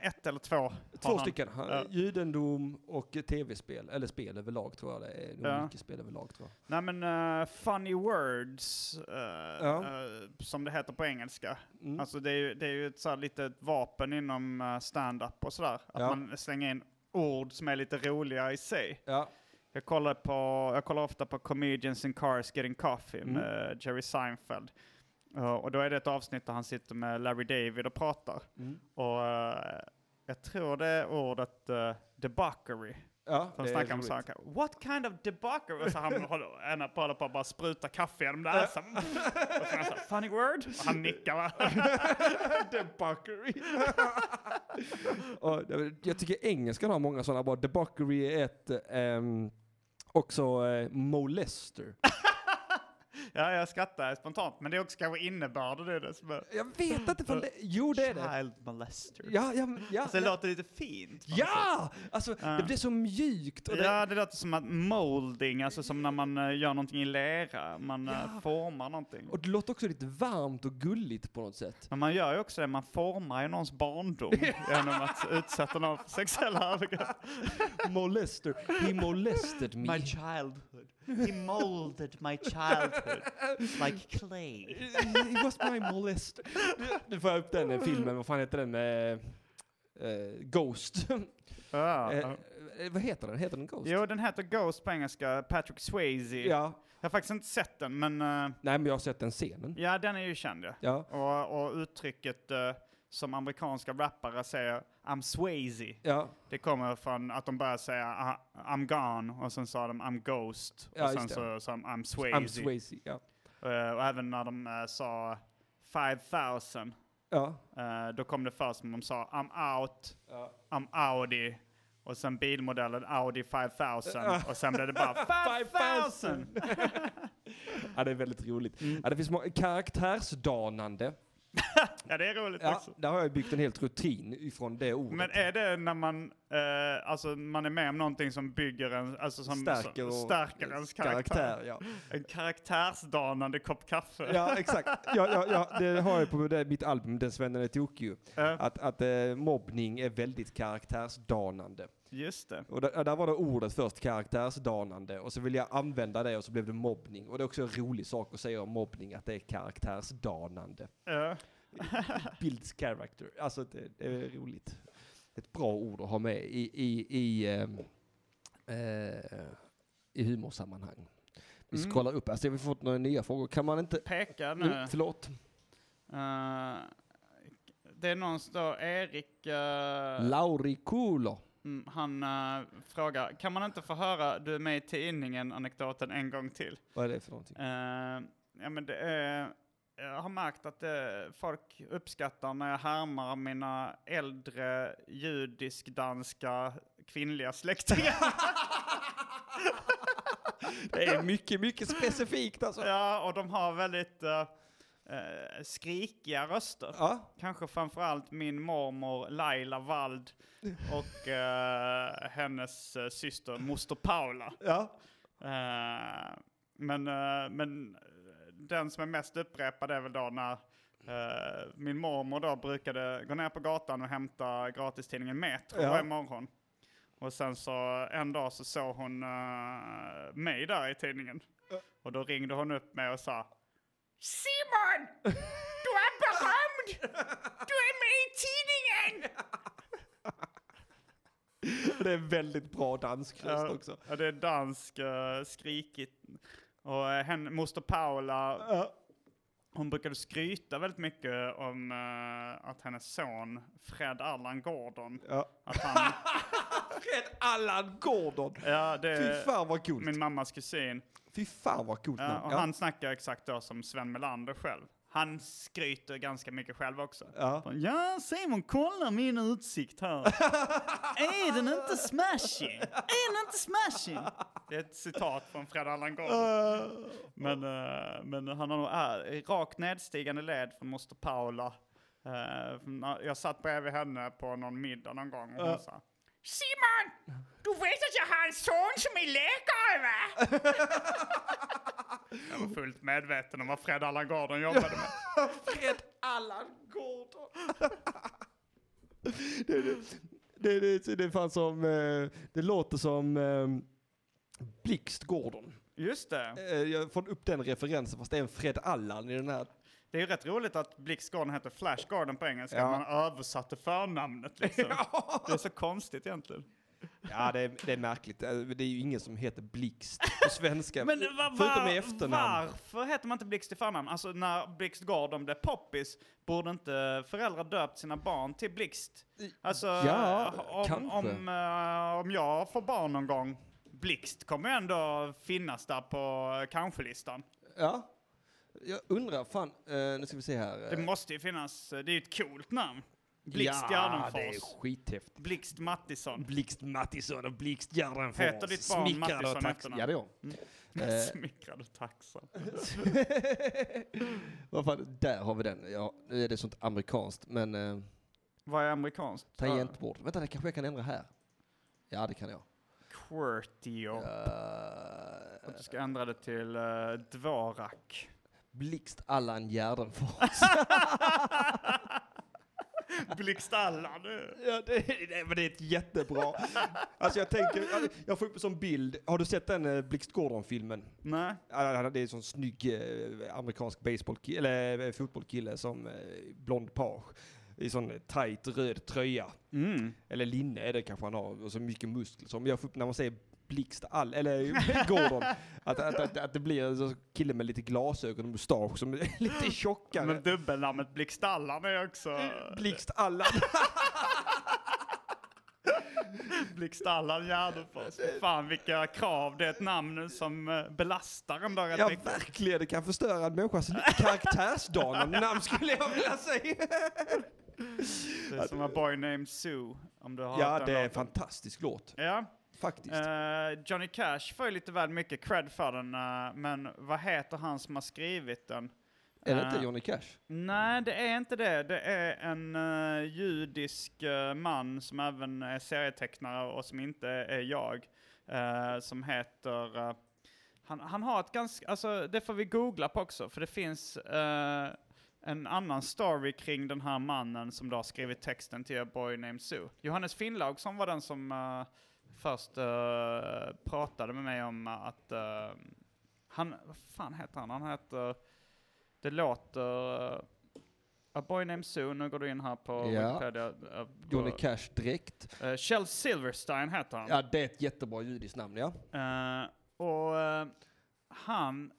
B: ett eller två har
A: Två
B: han.
A: stycken. Han-
B: Ja.
A: Judendom och eh, tv-spel, eller spel överlag tror jag det är. Nog
B: Ja.
A: mycket spel överlag tror jag.
B: Nej men eh, funny words, eh,
A: Ja.
B: eh, som det heter på engelska.
A: Mm.
B: Alltså det är ju, det är ju ett så här litet vapen inom eh, stand-up och sådär. Att
A: Ja.
B: man slänger in ord som är lite roliga i sig.
A: Ja.
B: Jag kollar, på, jag kollar ofta på Comedians in Cars Getting Coffee
A: Mm.
B: med eh, Jerry Seinfeld. Eh, och då är det ett avsnitt där han sitter med Larry David och pratar.
A: Mm.
B: Och eh, jag tror det är ordet uh, debauchery.
A: Ja,
B: De
A: det är
B: snackar om
A: roligt.
B: saker. What kind of debauchery? Och så han håller ena på håller på att bara spruta kaffe genom näsan. Och så är han så här, funny word? Och han nickar va? debauchery.
A: Ja, det- jag tycker engelskan har många sådana bara. Debauchery är ett. ehm, också eh, molester.
B: Ja, jag skrattar spontant. Men det är också kanske innebörden i det. Som är
A: Jag vet inte från det. Jo, det är det.
B: Child molester.
A: Ja, ja, ja.
B: Alltså det
A: ja.
B: låter lite fint. på något sätt.
A: Ja! Alltså, det blir så mjukt. Och det,
B: Ja, det låter som att molding, alltså som när man eh, gör någonting i lera. Man eh, formar någonting.
A: och det låter också lite varmt och gulligt på något sätt.
B: Men man gör ju också det, man formar ju någons barndom genom att utsätta någon för sexuella övergrepp.
A: Molester. He molested me.
G: my childhood. He molded my childhood like clay.
A: He was my molester. Nu- Nu får jag upp den eh, filmen, vad fan heter den? med, eh, Ghost.
B: Ja.
A: Eh, eh, vad heter den? Heter den Ghost?
B: Jo, den heter Ghost på engelska, Patrick Swayze.
A: Ja.
B: Jag har faktiskt inte sett den, men eh,
A: Nej, men jag har sett den scenen.
B: ja, den är ju känd ja.
A: Ja.
B: Och, och uttrycket eh, som amerikanska rappare säger, I'm Swayze,
A: Ja,
B: det kommer från att de börjar säga "Ah, I'm gone och sen sa de I'm Ghost
A: Ja,
B: och
A: just
B: sen
A: det.
B: så sa de I'm Swayze.
A: I'm Swayze. Ja.
B: Eh, och även när de eh, sa 5000
A: Ja.
B: Eh, då kom det först som de sa I'm out, I'm Audi och sen bilmodellen Audi 5000 och sen blev det bara 5000!
A: ja, det är väldigt roligt.
B: Mm.
A: Ja, det finns många karaktärsdanande.
B: ja det är roligt
A: Ja,
B: också.
A: där har jag byggt en helt rutin ifrån det ordet.
B: Men är det när man, eh, alltså man är med om någonting som bygger en, alltså som
A: stärker,
B: som,
A: och-
B: stärker ens karaktär.
A: ja.
B: En karaktärsdanande kopp kaffe.
A: ja, exakt. Ja, ja, ja, det har jag på det, mitt album Den svennen är tokig ju.
B: Ja.
A: Att, att eh, mobbning är väldigt karaktärsdanande.
B: Just det.
A: Och där, där var det ordet först, karaktärsdanande. Och så ville jag använda det och så blev det mobbning. Och det är också en rolig sak att säga om mobbning, att det är karaktärsdanande.
B: Eh,
A: builds character. Alltså det, det är roligt. Ett bra ord att ha med i, i, i, ehm, eh, i humorsammanhang. Vi
B: Mm.
A: scrollar upp, alltså vi har fått några nya frågor. Kan man inte...
B: peka nu.
A: Mm, förlåt.
B: Eh, det är någon som står, Erik... eh,
A: Lauri Kulo.
B: Mm, han eh, frågar, kan man inte få höra du är med i tidningen anekdoten en gång till?
A: Vad är det för någonting?
B: Eh, ja, men det, är- jag har märkt att eh, folk uppskattar när jag härmar mina äldre judisk-danska kvinnliga släktingar.
A: Det är mycket, mycket specifikt alltså.
B: ja, och de har väldigt eh, eh, skrikiga röster.
A: Ja,
B: Kanske framförallt min mormor Laila Wald och eh, hennes eh, syster moster Paula.
A: ja.
B: Eh, men, eh, men eh, den som är mest upprepad är väl då när eh, min mormor då brukade gå ner på gatan och hämta gratistidningen Metro
A: Ja.
B: varje morgon. Och sen så en dag så såg hon eh, mig där i tidningen. Och då ringde hon upp mig och sa Simon! Du är berömd! Du är med i tidningen!
A: Det är väldigt bra dansk röst också.
B: Ja, det är dansk eh, skrikigt. Och eh, henne, moster Paula, hon brukade skryta väldigt mycket om eh, att hennes son Fred Allan Gordon,
A: Ja.
B: att han,
A: Fred Allan Gordon!
B: ja det
A: Fy
B: är
A: fan vad coolt!
B: min mammas kusin.
A: Fy fan vad coolt
B: Ja,
A: namn.
B: och
A: ja.
B: han snackar exakt då som Sven Melander själv. Han skryter ganska mycket själv också.
A: Ja.
B: Bara, Ja, Simon, kolla min utsikt här. är den inte smashing? Är den inte smashing? Det är ett citat från Fred Allan Gordon. Men, eh, men han har nog är, rakt nedstigande led från moster Paula. Eh, från- jag satt bredvid henne på någon middag någon gång och hon sa Simon! Du vet att jag har en son som är läkare va? jag var fullt medveten om vad Fred Allan Gordon jobbade med.
A: Fred Allan Gordon. det, det, det, det, det är fan som, eh, det låter som eh, Blixt Gordon.
B: Just det.
A: Eh, Jag får upp den referensen fast det är en Fred Allan i den här.
B: Det är ju rätt roligt att Blix Garden heter Flash Garden på engelska.
A: Ja.
B: Man översatte förnamnet liksom. Det är så konstigt egentligen.
A: Ja det är, det är märkligt, Eh, det är ju ingen som heter Blixt på svenska.
B: Men va,
A: Eh, Förutom i efternamn.
B: varför heter man inte Blixt i förnamn? Alltså när Blixt Garden blev poppis, borde inte föräldrar döpt sina barn till Blixt? Alltså,
A: ja,
B: om,
A: kanske.
B: om, eh, om jag får barn någon gång, Blixt kommer ju ändå finnas där på eh, kanske-listan.
A: Ja. Jag undrar, fan, eh, nu ska vi se här.
B: Det
A: Eh,
B: måste ju finnas, eh, det är ju ett coolt namn. Blixt
A: Ja, det är Eh.
B: Gardenfors.
A: skithäftigt.
B: Blixt Mattisson.
A: Blixt Mattisson och Blixt Gärdenfors.
B: Heter ditt barn
A: Smickrare och
B: Mattisson
A: tax-
B: efternamn? Mm.
A: Ja det gör Eh.
B: Smickrad och tacksam.
A: Vad fan, där har vi den. Ja, nu är det sånt amerikanskt, men eh,
B: Vad är amerikanskt? Ah,
A: tangentbord. Vänta, det kanske jag kan ändra här. Ja, det kan jag.
B: Quirtio.
A: Eh,
B: Att du ska ändra det till uh, Dvorak.
A: Blixt Allan Gärdenfors.
B: Blixtalla nu!
A: ja, det, det, men det är ett jättebra. Alltså jag tänker, jag får upp en sån bild. Har du sett den eh, Blixt Gordon-filmen?
B: Nej.
A: Ja, Det är en sån snygg eh, amerikansk baseballkille, eller eh, fotbollskille som eh, blond page. I sån tight röd tröja.
B: Mm.
A: Eller linne är det kanske han har, och så mycket muskler. Så om jag får upp, när man säger Blixt all, eller Gordon, att, att, att, att det blir en sån kille med lite glasögon och mustasch som är lite tjockare.
B: Men dubbelnamnet Blixtallan är också...
A: Blixt Allan.
B: Blixtallan Gärdefors. Fan vilka krav. Det är ett namn som eh, belastar en dag rätt
A: Ja
B: mycket.
A: verkligen, det kan förstöra en Alltså, människas li- karaktärsdanande namn skulle jag vilja säga.
B: Det är som A Boy Named Sue. Om du har hört
A: Ja
B: den
A: det är en
B: låten.
A: fantastisk låt,
B: Ja.
A: faktiskt.
B: Eh, Johnny Cash får ju lite väl mycket cred för den, eh, men vad heter han som har skrivit den?
A: är det
B: eh,
A: inte Johnny Cash?
B: Nej, det är inte det. Det är en eh, judisk eh, man som även är serietecknare och som inte är jag, eh, som heter... eh, han, han har ett ganska... Alltså, det får vi googla på också, för det finns eh, en annan story kring den här mannen som då har skrivit texten till A Boy Named Sue. Johannes Finnlaug som var den som eh, först eh, pratade med mig om att... eh, han... Vad fan heter han? Han heter... Det låter... eh, A Boy Named Sue, nu går du in här på
A: Ja.
B: Wikipedia. eh, på-
A: Johnny Cash direkt.
B: eh, Kjell Silverstein heter han.
A: Ja det är ett jättebra judiskt namn ja.
B: Eh, och eh, han,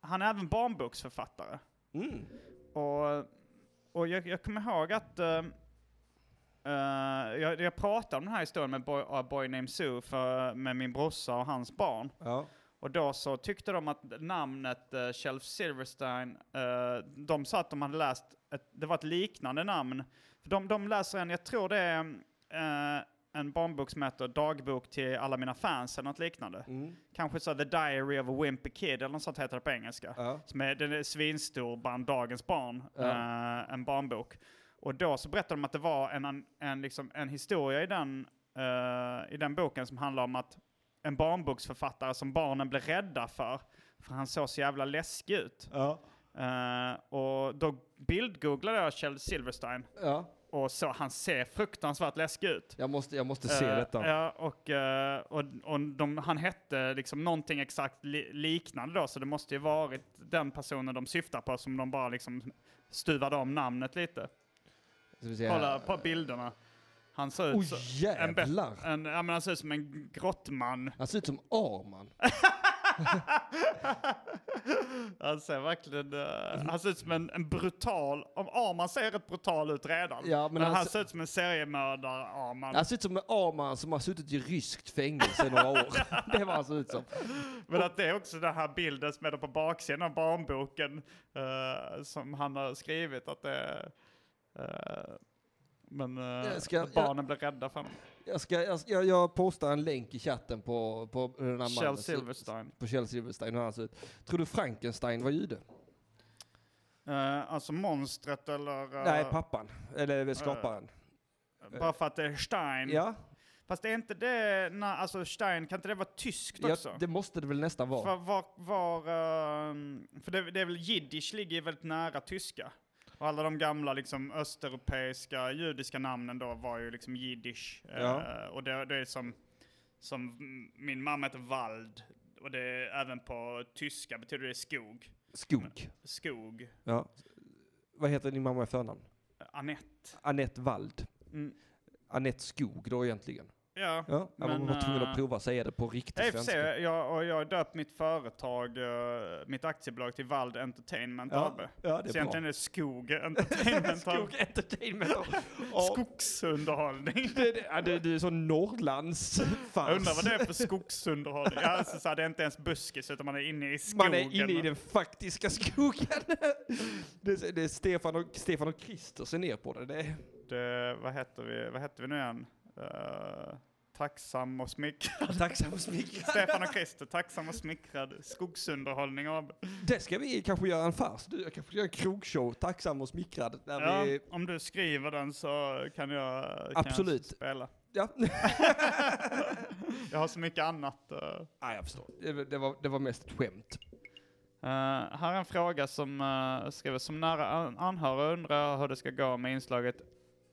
B: han är även barnboksförfattare.
A: Mm.
B: Och, och jag, jag kommer ihåg att eh, eh, jag, jag pratade om den här historien med Boy, A Boy Named Sue för, med min brorsa och hans barn.
A: Ja.
B: Och då så tyckte de att namnet uh, Shelf Silverstein, eh, de sa att de hade läst, ett, det var ett liknande namn. För de, de läser en, jag tror det är eh, en barnbok som heter Dagbok till alla mina fans eller något liknande.
A: Mm.
B: Kanske så här The Diary of a Wimpy Kid eller något sånt heter det på engelska.
A: Ja.
B: Som är, den är svinstor bland dagens barn,
A: Ja.
B: eh, en barnbok. Och då så berättade de att det var en, en, en, liksom, en historia i den, eh, i den boken som handlar om att en barnboksförfattare som barnen blev rädda för, för han såg så jävla läskig ut.
A: Ja.
B: Eh, och då bildgooglade jag Kjell Silverstein
A: Ja,
B: och så han ser fruktansvärt läskig ut.
A: jag måste, jag måste se
B: Eh,
A: detta.
B: Ja, och, eh, och, och de, han hette liksom någonting exakt li, liknande då, så det måste ju varit den personen de syftar på som de bara liksom stuvade om namnet lite.
A: Ska vi se här.
B: Kolla på bilderna. Han ser ut,
A: Oj
B: så- en bet-
A: jävlar!
B: en, ja, men han ser ut som en grottman.
A: Han ser ut som Arman.
B: han ser verkligen, eh, han ser ut som en, en brutal, om Arman ser rätt brutal ut redan.
A: Ja, men
B: men
A: han
B: han,
A: ser-
B: ser ut som en seriemördare Arman.
A: Han ser ut som en Arman som har suttit i ryskt fängelse i några år. Det var han ser ut som.
B: Men att det är också den här bilden som är där på baksidan av barnboken eh, som han har skrivit. Att det är, eh, men eh,
A: Jag ska-
B: att barnen blir rädda för honom.
A: Jag, ska, jag, jag, jag postar en länk i chatten på, på den här mannen.
B: Kjell
A: Så-
B: Silverstein.
A: På Kjell Silverstein, hur han ser ut. Tror du Frankenstein var jude?
B: Eh, alltså monstret eller... eh,
A: Nej, pappan. Eller skaparen.
B: Mm. bara för att det är Stein.
A: ja,
B: Fast det är inte det... Nej, alltså Stein, kan inte det vara tyskt
A: ja,
B: också?
A: det måste det väl nästan vara.
B: För, var, var, ehm, för det, det är väl jiddisch ligger ju väldigt nära tyska. Och alla de gamla liksom, östeuropeiska judiska namnen då var ju liksom jiddisch. Eh,
A: Ja.
B: och det, det är som, som, mm, min mamma heter Wald. Och det är även på tyska betyder det skog.
A: Skog.
B: Skog.
A: Ja. Vad heter din mamma i förnamn?
B: Anette.
A: Annette Wald.
B: Mm.
A: Anette Skog då egentligen.
B: Ja.
A: Ja, men, man
B: Men,
A: var tvungen
B: eh,
A: att prova säga det på riktigt
B: Jag,
A: svenska.
B: jag, och jag har döpt mitt företag, eh, mitt aktiebolag till Wald Entertainment
A: Ja,
B: AB.
A: ja, det är
B: Så egentligen är
A: bra.
B: det Skog Entertainment AB.
A: Skog Entertainment. Skog.
B: Skogsunderhållning.
A: Det, det, ja, det, det är sån
B: Jag undrar vad
A: Norrlandsfars.
B: det är för skogsunderhållning. Ja, alltså, så här, det är inte ens buskis utan man är inne i skogen.
A: Man är inne i den faktiska skogen. Det är, det är Stefan, och, Stefan och Kristersen ner på det. det är,
B: Det- vad, heter vi, vad heter vi nu igen? Eh, tacksam och smickrad.
A: tacksam och smickrad.
B: Stefan och Christer, tacksam och smickrad. Skogsunderhållning AB.
A: Det ska vi kanske göra en fars. Du, jag kanske gör en krogshow, tacksam och smickrad. Där
B: Ja,
A: vi,
B: om du skriver den så kan jag, kan
A: Absolut.
B: jag spela.
A: ja.
B: Jag har så mycket annat. eh.
A: Nej, jag förstår. Det, det, var, det var mest ett skämt.
B: Eh, här är en fråga som uh, skriver som nära an- anhörig undrar jag hur det ska gå med inslaget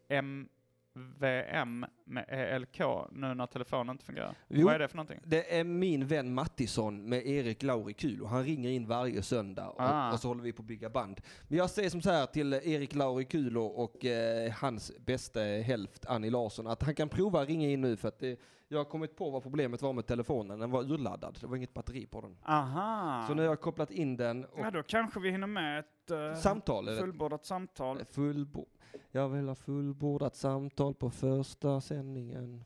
B: MVM med ELK nu när telefonen inte fungerar.
A: Jo.
B: Vad är det för någonting?
A: Det är min vän Mattisson med Erik Lauri Kul och han ringer in varje söndag och,
B: Ah.
A: och så håller vi på att bygga band. Men jag säger som så här till Erik Lauri Kul och, och eh, hans bästa hälft Annie Larsson att han kan prova att ringa in nu för att det, jag har kommit på vad problemet var med telefonen. Den var urladdad, det var inget batteri på den.
B: Aha.
A: Så nu har jag kopplat in den och
B: ja, då kanske vi hinner med ett eh,
A: samtal. eller?
B: fullbordat samtal.
A: Fullbo- jag vill ha fullbordat samtal på första sändningen.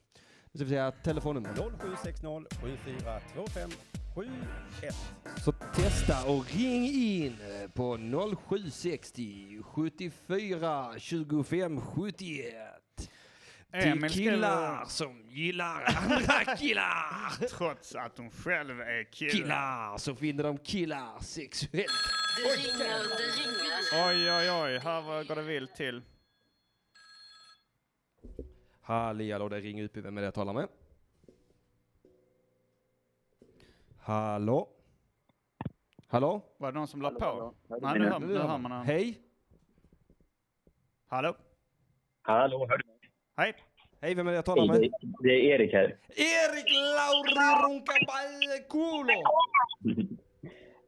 A: Det vill säga telefonnummer.
E: 0760 7425 71.
A: Så testa och ring in eh, på 0760 74 25 71. Till
B: Emil skriver-
A: killar som gillar andra killar.
B: Trots att hon själv är kille.
A: Killar så finner de killar sexuellt.
C: Det ringer, det ringer.
B: Oj, oj, oj. Här var- går det vilt till.
A: Halli hallå, det är Ring UP. Vem är det jag talar med? Hallå? Hallå?
B: Var det någon som la på? Nej, nu hör, nu hör man honom.
A: Hej!
B: Hallå?
H: Hallå, hör du mig?
B: Hej.
A: Hej, vem är det jag talar med?
H: Det är Erik här.
A: Erik Lauri Runkabalkulo!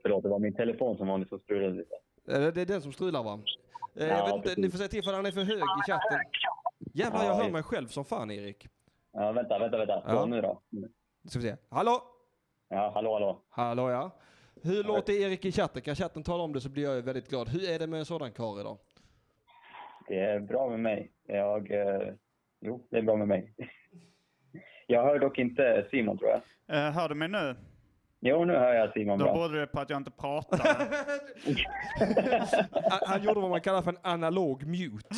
H: Förlåt, det var min telefon som vanligt som strulade lite.
A: Eh, Det är den som strular va? Eh,
H: Ja,
A: jag vet inte,
H: precis.
A: ni får säga till för han är för hög i chatten. Jävlar, jag
H: Ja,
A: hör
H: just.
A: mig själv som fan Erik.
H: Ja, vänta, vänta, vänta. Så,
A: Ja.
H: nu då.
A: Nu ska vi se. Hallå!
H: Ja, hallå, hallå.
A: Hallå ja. Hur låter Erik i chatten? Kan chatten tala om det så blir jag ju väldigt glad. Hur är det med en sådan karl idag?
H: Det är bra med mig. Jag... Eh, jo, det är bra med mig. Jag hör dock inte Simon, tror jag.
B: Eh, hör du mig nu?
H: Jo, nu hör jag Simon
B: Då
H: bra.
B: berodde det på att jag inte pratade.
A: Han, han gjorde vad man kallar för en analog mute.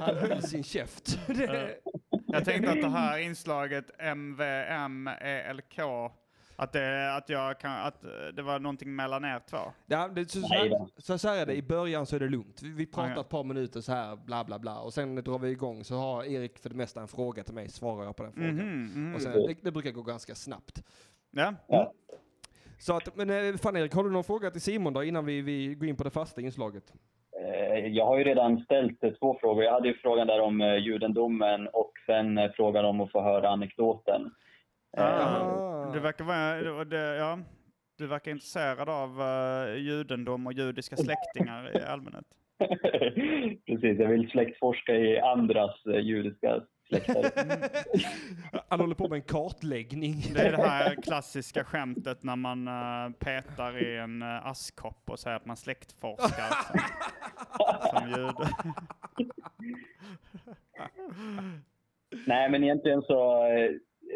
A: Han höll sin käft. Det-
B: Jag tänkte att det här inslaget MVM ELK, E att det, att jag kan, att eh, det var någonting mellan er två.
A: Ja, det, så, så,
H: Nej
A: här,
H: då.
A: så, så här är det, i början så är det lugnt. Vi, vi pratar
B: Ja, ja.
A: ett par minuter så här, bla bla bla. Och sen drar vi igång så har Erik för det mesta en fråga till mig, svarar jag på den frågan.
B: Mhm, mhm.
A: Och sen, det, det brukar gå ganska snabbt.
B: Ja.
H: Ja.
A: Så att, men eh, fan Erik, har du någon fråga till Simon då innan vi, vi går in på det fasta inslaget?
H: Eh, Jag har ju redan ställt eh, två frågor. Jag hade ju frågan där om eh, judendomen och sen eh, frågan om att få höra anekdoten.
A: Ah.
B: Du verkar vara, det- det, ja, du verkar intresserad av eh, judendom och judiska släktingar i allmänhet.
H: Precis, jag vill släktforska i andras eh, judiska släkter.
A: Han håller på med en kartläggning.
B: Det är det här klassiska skämtet när man eh, petar i en uh, askkopp och säger att man släktforskar som, som jude.
H: Nej, men egentligen så... eh,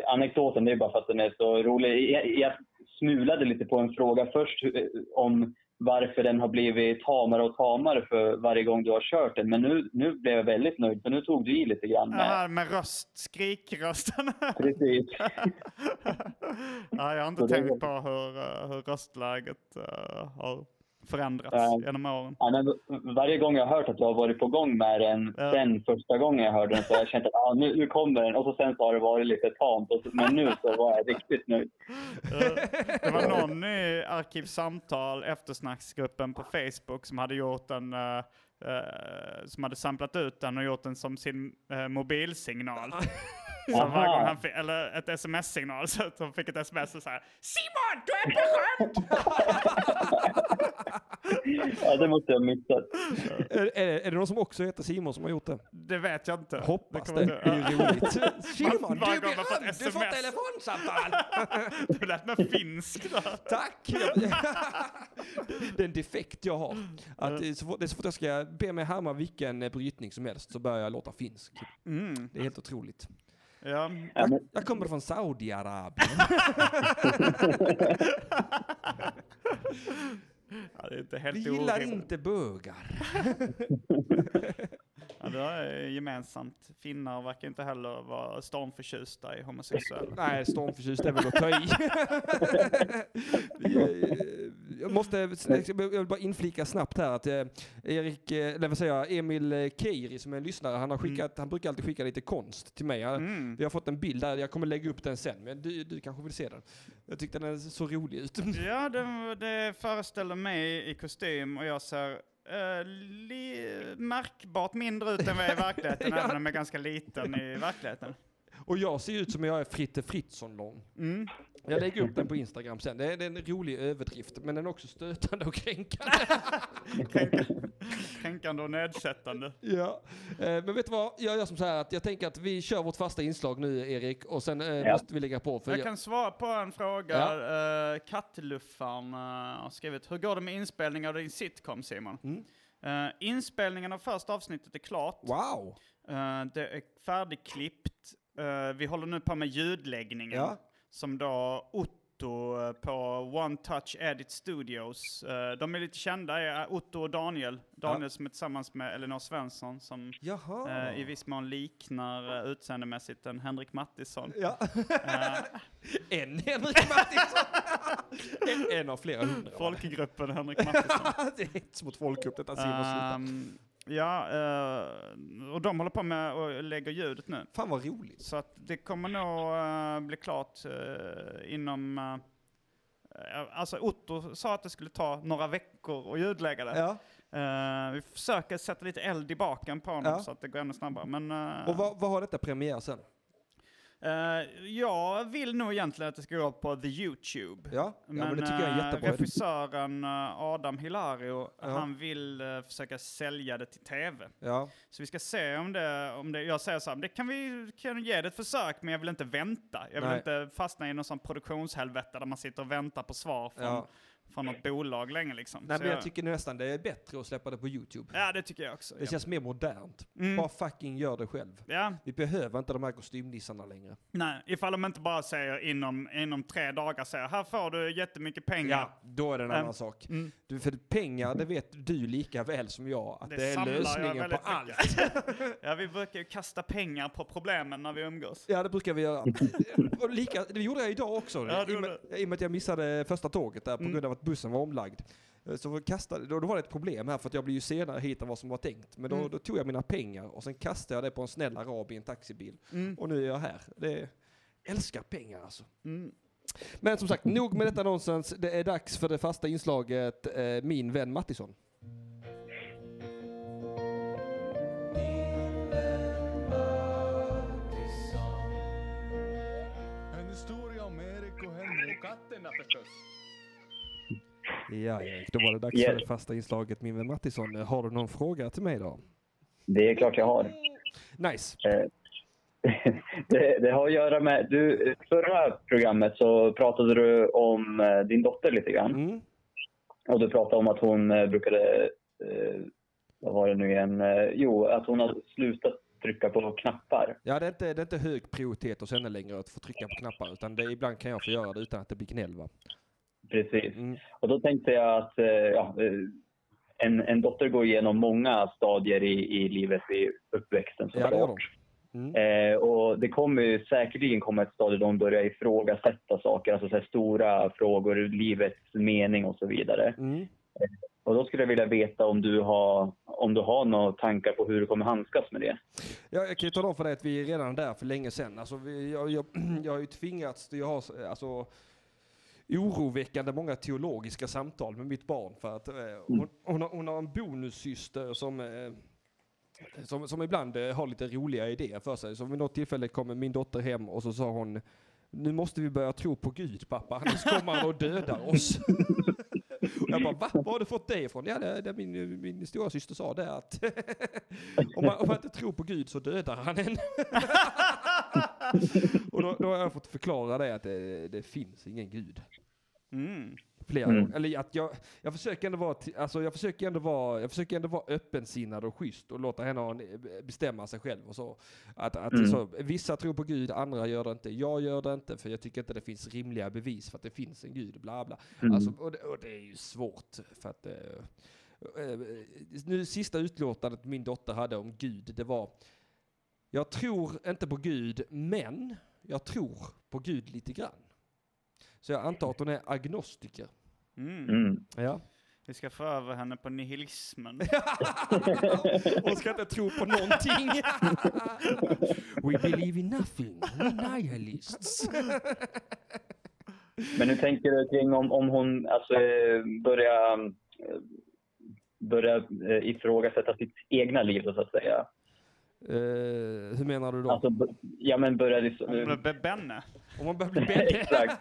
H: Anekdoten, det är bara för att den är så rolig. Jag, jag smulade lite på en fråga först eh, om varför den har blivit tamare och tamare för varje gång du har kört den. Men nu, nu blev jag väldigt nöjd, för nu tog du i lite grann.
B: Det
H: med-
B: här med röst, skrikrösten.
H: Precis.
B: ja, jag har inte
H: Så det är-
B: tänkt på hur, eh, hur röstläget eh, har förändrats
H: Ja.
B: genom åren.
H: Ja, men varje gång jag har hört att du har varit på gång med den
B: Ja.
H: sen första gången jag hörde den så har jag känt att ah, nu, nu kommer den och så sen så har det varit lite tamt. Och så, men nu så var jag riktigt nöjd.
B: Det var någon i Arkivsamtal, eftersnacksgruppen på Facebook, som hade gjort en eh, eh, som hade samplat ut den och gjort den som sin eh, mobilsignal. Så varje gång han fick, eller ett sms-signal, så att han fick ett sms och så här Simon, du är på skämt!
H: Ja, det måste jag ha missat.
A: är, är, är det någon som också heter Simon som har gjort det?
B: Det vet jag inte.
A: Hoppas
B: kommer
A: det. Det är ju
B: inte-
A: roligt. Simon, du
B: Varje gång
A: blir
B: man får ett
A: berömd! Du får
B: SMS.
A: telefonsamtal!
B: Du lät mig finsk där.
A: Tack! det är en defekt jag har. Att eh, så, fort, det är så fort jag ska be mig härma vilken eh, brytning som helst så börjar jag låta finsk.
B: Mm,
A: Det är helt otroligt.
B: ja.
H: Ja, men,
A: Jag kommer från Saudiarabien.
B: ja, det är inte
A: Vi
B: helt
A: gillar
B: orimligt.
A: inte bögar.
B: Ja, det är gemensamt. Finnar verkar inte heller vara stormförtjusta i homosexuella.
A: Nej, stormförtjust är väl att ta i. Eh, jag måste, jag vill bara inflika snabbt här att eh, Erik, eh, eller vad säger jag, Emil eh, Keiri som är en lyssnare, han, har skickat, han brukar alltid skicka lite konst till mig. Han,
B: Mm.
A: Vi har fått en bild där, jag kommer lägga upp den sen, men du, du kanske vill se den? Jag tyckte den såg rolig ut.
B: Ja, det, det föreställer mig i kostym och jag ser eh, li- märkbart mindre ut än vad jag är i verkligheten,
A: Ja.
B: även om jag är ganska liten i verkligheten.
A: Och jag ser ut som jag är Fritte Fritzson lång.
B: Mm.
A: Jag lägger upp den på Instagram sen. Det är, det är en rolig överdrift, men den är också stötande och kränkande.
B: Kränkande och nedsättande.
A: ja. eh, men vet du vad, jag gör som så här att jag tänker att vi kör vårt fasta inslag nu Erik, och sen eh,
H: Ja.
A: måste vi lägga på. För
B: Jag
A: jag-
B: kan svara på en fråga. Eh, Kattluffaren eh, har skrivit, hur går det med inspelningen av din sitcom Simon?
A: Mm.
B: Eh, inspelningen av första avsnittet är klart.
A: Wow!
B: Eh, det är färdigklippt. Eh, vi håller nu på med ljudläggningen.
A: Ja.
B: Som då Otto eh, på One Touch Edit Studios. eh, de är lite kända, är Otto och Daniel. Daniel som är tillsammans med Elinor Svensson som
A: Jaha!
B: eh, i viss mån liknar eh, utseendemässigt en Henrik Mattisson.
A: Ja.
B: Eh,
A: en Henrik Mattisson! en, en av flera hundra.
B: folkgruppen Henrik Mattisson.
A: det är hets mot folkgrupp detta Simon, sluta.
B: Ehm, ja, eh, och de håller på med och lägger ljudet nu.
A: Fan vad roligt.
B: Så att det kommer nog eh, bli klart eh, inom... eh, alltså Otto sa att det skulle ta några veckor att ljudlägga det.
A: Ja.
B: Eh, vi försöker sätta lite eld i baken på honom
A: Ja.
B: så att det går ännu snabbare. Men, eh,
A: Och vad, vad har detta premiär sen?
B: eh, jag vill nog egentligen att det ska gå på the YouTube.
A: Ja, men, ja, men det tycker jag är
B: eh,
A: en jättebra idé.
B: regissören eh, Adam Hilario,
A: Ja.
B: han vill eh, försöka sälja det till tv.
A: Ja.
B: Så vi ska se om det, om det jag säger så här, det kan vi kan ge det ett försök, men jag vill inte vänta. Jag vill
A: Nej.
B: inte fastna i någon sån produktionshelvete där man sitter och väntar på svar från,
A: Ja.
B: från något bolag länge liksom.
A: Nej,
B: Så
A: men jag tycker nästan det är bättre att släppa det på YouTube.
B: Ja, det tycker jag också.
A: Det känns mer modernt.
B: Mm.
A: Bara fucking gör det själv.
B: Ja,
A: Vi behöver inte de här kostymnissarna längre.
B: nej, ifall de inte bara säger inom, inom tre dagar säger här får du jättemycket pengar.
A: Ja, då är det en
B: Äm,
A: annan sak.
B: mm.
A: Du, för pengar, det vet du lika väl som jag, att det, är
B: samlar jag
A: lösningen på
B: väldigt
A: allt.
B: mycket. ja, vi brukar ju kasta pengar på problemen när vi umgås.
A: Ja, det brukar vi göra. Och lika, det gjorde jag idag också.
B: Ja, du Mm.
A: I, och med, I och med att jag missade första tåget där på grund av att bussen var omlagd. Eh, Så kastade, då, då var det ett problem här för att jag blev ju senare hit än vad som var tänkt. Men då,
B: Mm.
A: då tog jag mina pengar och sen kastade jag det på en
B: Mm.
A: snäll arab i en taxibil. Och nu är jag här. Det, älskar pengar alltså.
B: Mm.
A: Men som sagt, nog med detta nonsens. Det är dags för det fasta inslaget eh, Min vän Mattisson.
I: En historia om Erik och Henrik. Och katterna förstås.
A: Ja, Erik, då var det dags för
H: Yes.
A: det fasta inslaget Min vän Mattisson. Eh, Har du någon fråga till mig då?
H: Det är klart jag har.
A: Nice.
H: det, det har att göra med... Du, förra programmet så pratade du om eh, din dotter lite grann.
A: Mm.
H: Och du pratade om att hon eh, brukade... Eh, vad var det nu igen? Eh, jo, att hon har slutat trycka på knappar.
A: Ja, det är, inte, det är inte hög prioritet hos henne längre att få trycka på knappar, utan det, ibland kan jag få göra det utan att det blir gnäll. Va?
H: Precis.
A: Mm.
H: Och då tänkte jag att eh, ja, eh, en, en dotter går igenom många stadier i, i livet i uppväxten.
A: Ja, det gör de.
H: såklart.
A: Mm.
H: Eh, och det kommer ju säkerligen komma ett stadie då hon börjar ifrågasätta saker, alltså så här stora frågor, livets mening och så vidare.
A: Mm.
H: Och då skulle jag vilja veta om du har, om du har några tankar på hur du kommer handskas med det.
A: Ja, jag kan ju tala om för dig att vi är redan där för länge sedan. Alltså, vi, jag, jag, jag har ju tvingats, jag har alltså, oroväckande många teologiska samtal med mitt barn. För att, eh, hon, hon, har, hon har en bonussyster som, eh, som, som ibland eh, har lite roliga idéer för sig. Så vid något tillfälle kommer min dotter hem och så sa hon nu måste vi börja tro på Gud pappa, annars kommer han och dödar oss. Och jag bara, va? Var har du fått det ifrån? Ja, det, det, min, min stora syster sa det att om, man, om man inte tror på Gud så dödar han en. och då, då har jag fått förklara det att det, det finns ingen Gud.
B: Mm.
A: Flera
H: Mm.
A: gånger. Eller att jag, jag försöker ändå vara, ti- alltså jag försöker ändå vara, jag försöker ändå vara öppensinnad och schysst och låta henne ha en, bestämma sig själv och så. Att, att
H: Mm.
A: så, vissa tror på Gud, andra gör det inte. Jag gör det inte för jag tycker inte det finns rimliga bevis för att det finns en Gud, bla bla.
H: Mm.
A: Alltså, och, det, och det är ju svårt för att... Eh, eh, nu sista utlåtandet min dotter hade om Gud, det var... Jag tror inte på Gud, men jag tror på Gud lite grann. Så jag antar att hon är agnostiker.
B: Mm.
H: Mm.
A: Ja.
B: Vi ska få över henne på nihilismen.
A: Hon ska inte tro på någonting. We believe in nothing. We nihilists.
H: Men hur tänker du kring om, om hon alltså, eh, börjar, eh, börjar eh, ifrågasätta sitt egna liv så att säga?
A: Eh, hur menar du då?
H: Alltså, b- ja men börjar... liksom-
B: Hon blev bebenne.
A: Om man börjar bli bättre?
H: Exakt.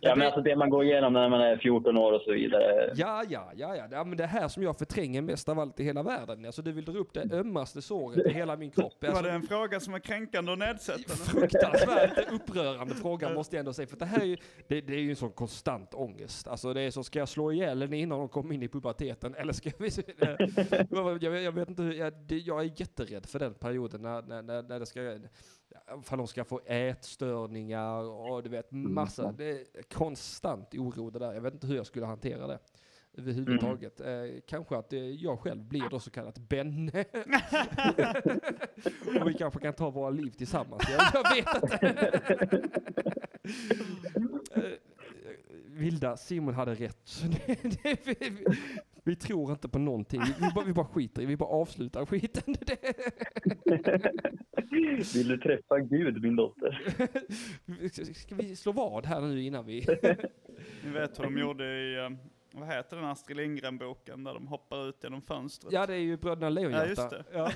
H: Ja, men alltså det man går igenom när man är 14 år och så vidare.
A: Ja, ja, ja, ja. ja men det här som jag förtränger mest av allt i hela världen. Alltså, du vill dra upp det ömmaste såret i hela min kropp.
B: Var
A: Alltså,
B: det en fråga som var kränkande och nedsättande?
A: fruktansvärt upprörande fråga måste jag ändå säga. För det här är ju, det, det är ju en sån konstant ångest. Alltså det är så, ska jag slå ihjäl henne innan hon kommer in i puberteten? Eller ska vi... jag, jag, jag vet inte hur, jag, det, jag är jätterädd för den perioden när, när, när, när det ska... Ifall hon ska få ätstörningar och du vet massa. Det är konstant oro det där. Jag vet inte hur jag skulle hantera det. Överhuvudtaget. Eh, kanske att eh, jag själv blir då så kallat Benne. Och vi kanske kan ta våra liv tillsammans. Jag, jag vet inte. Eh, Vilda, Simon hade rätt. Det- det- vi, vi tror inte på någonting. Vi, vi, bara, vi bara skiter i Vi bara avslutar skiten. Det,
H: Vill du träffa Gud, min dotter?
A: ska vi slå vad här nu innan vi...
B: Ni vet hur de gjorde i, eh, vad heter den Astrid Lindgren-boken där de hoppar ut genom fönstret?
A: Ja, det är ju Bröderna Lejonhjärta.
B: Ja, just det.
A: Ja.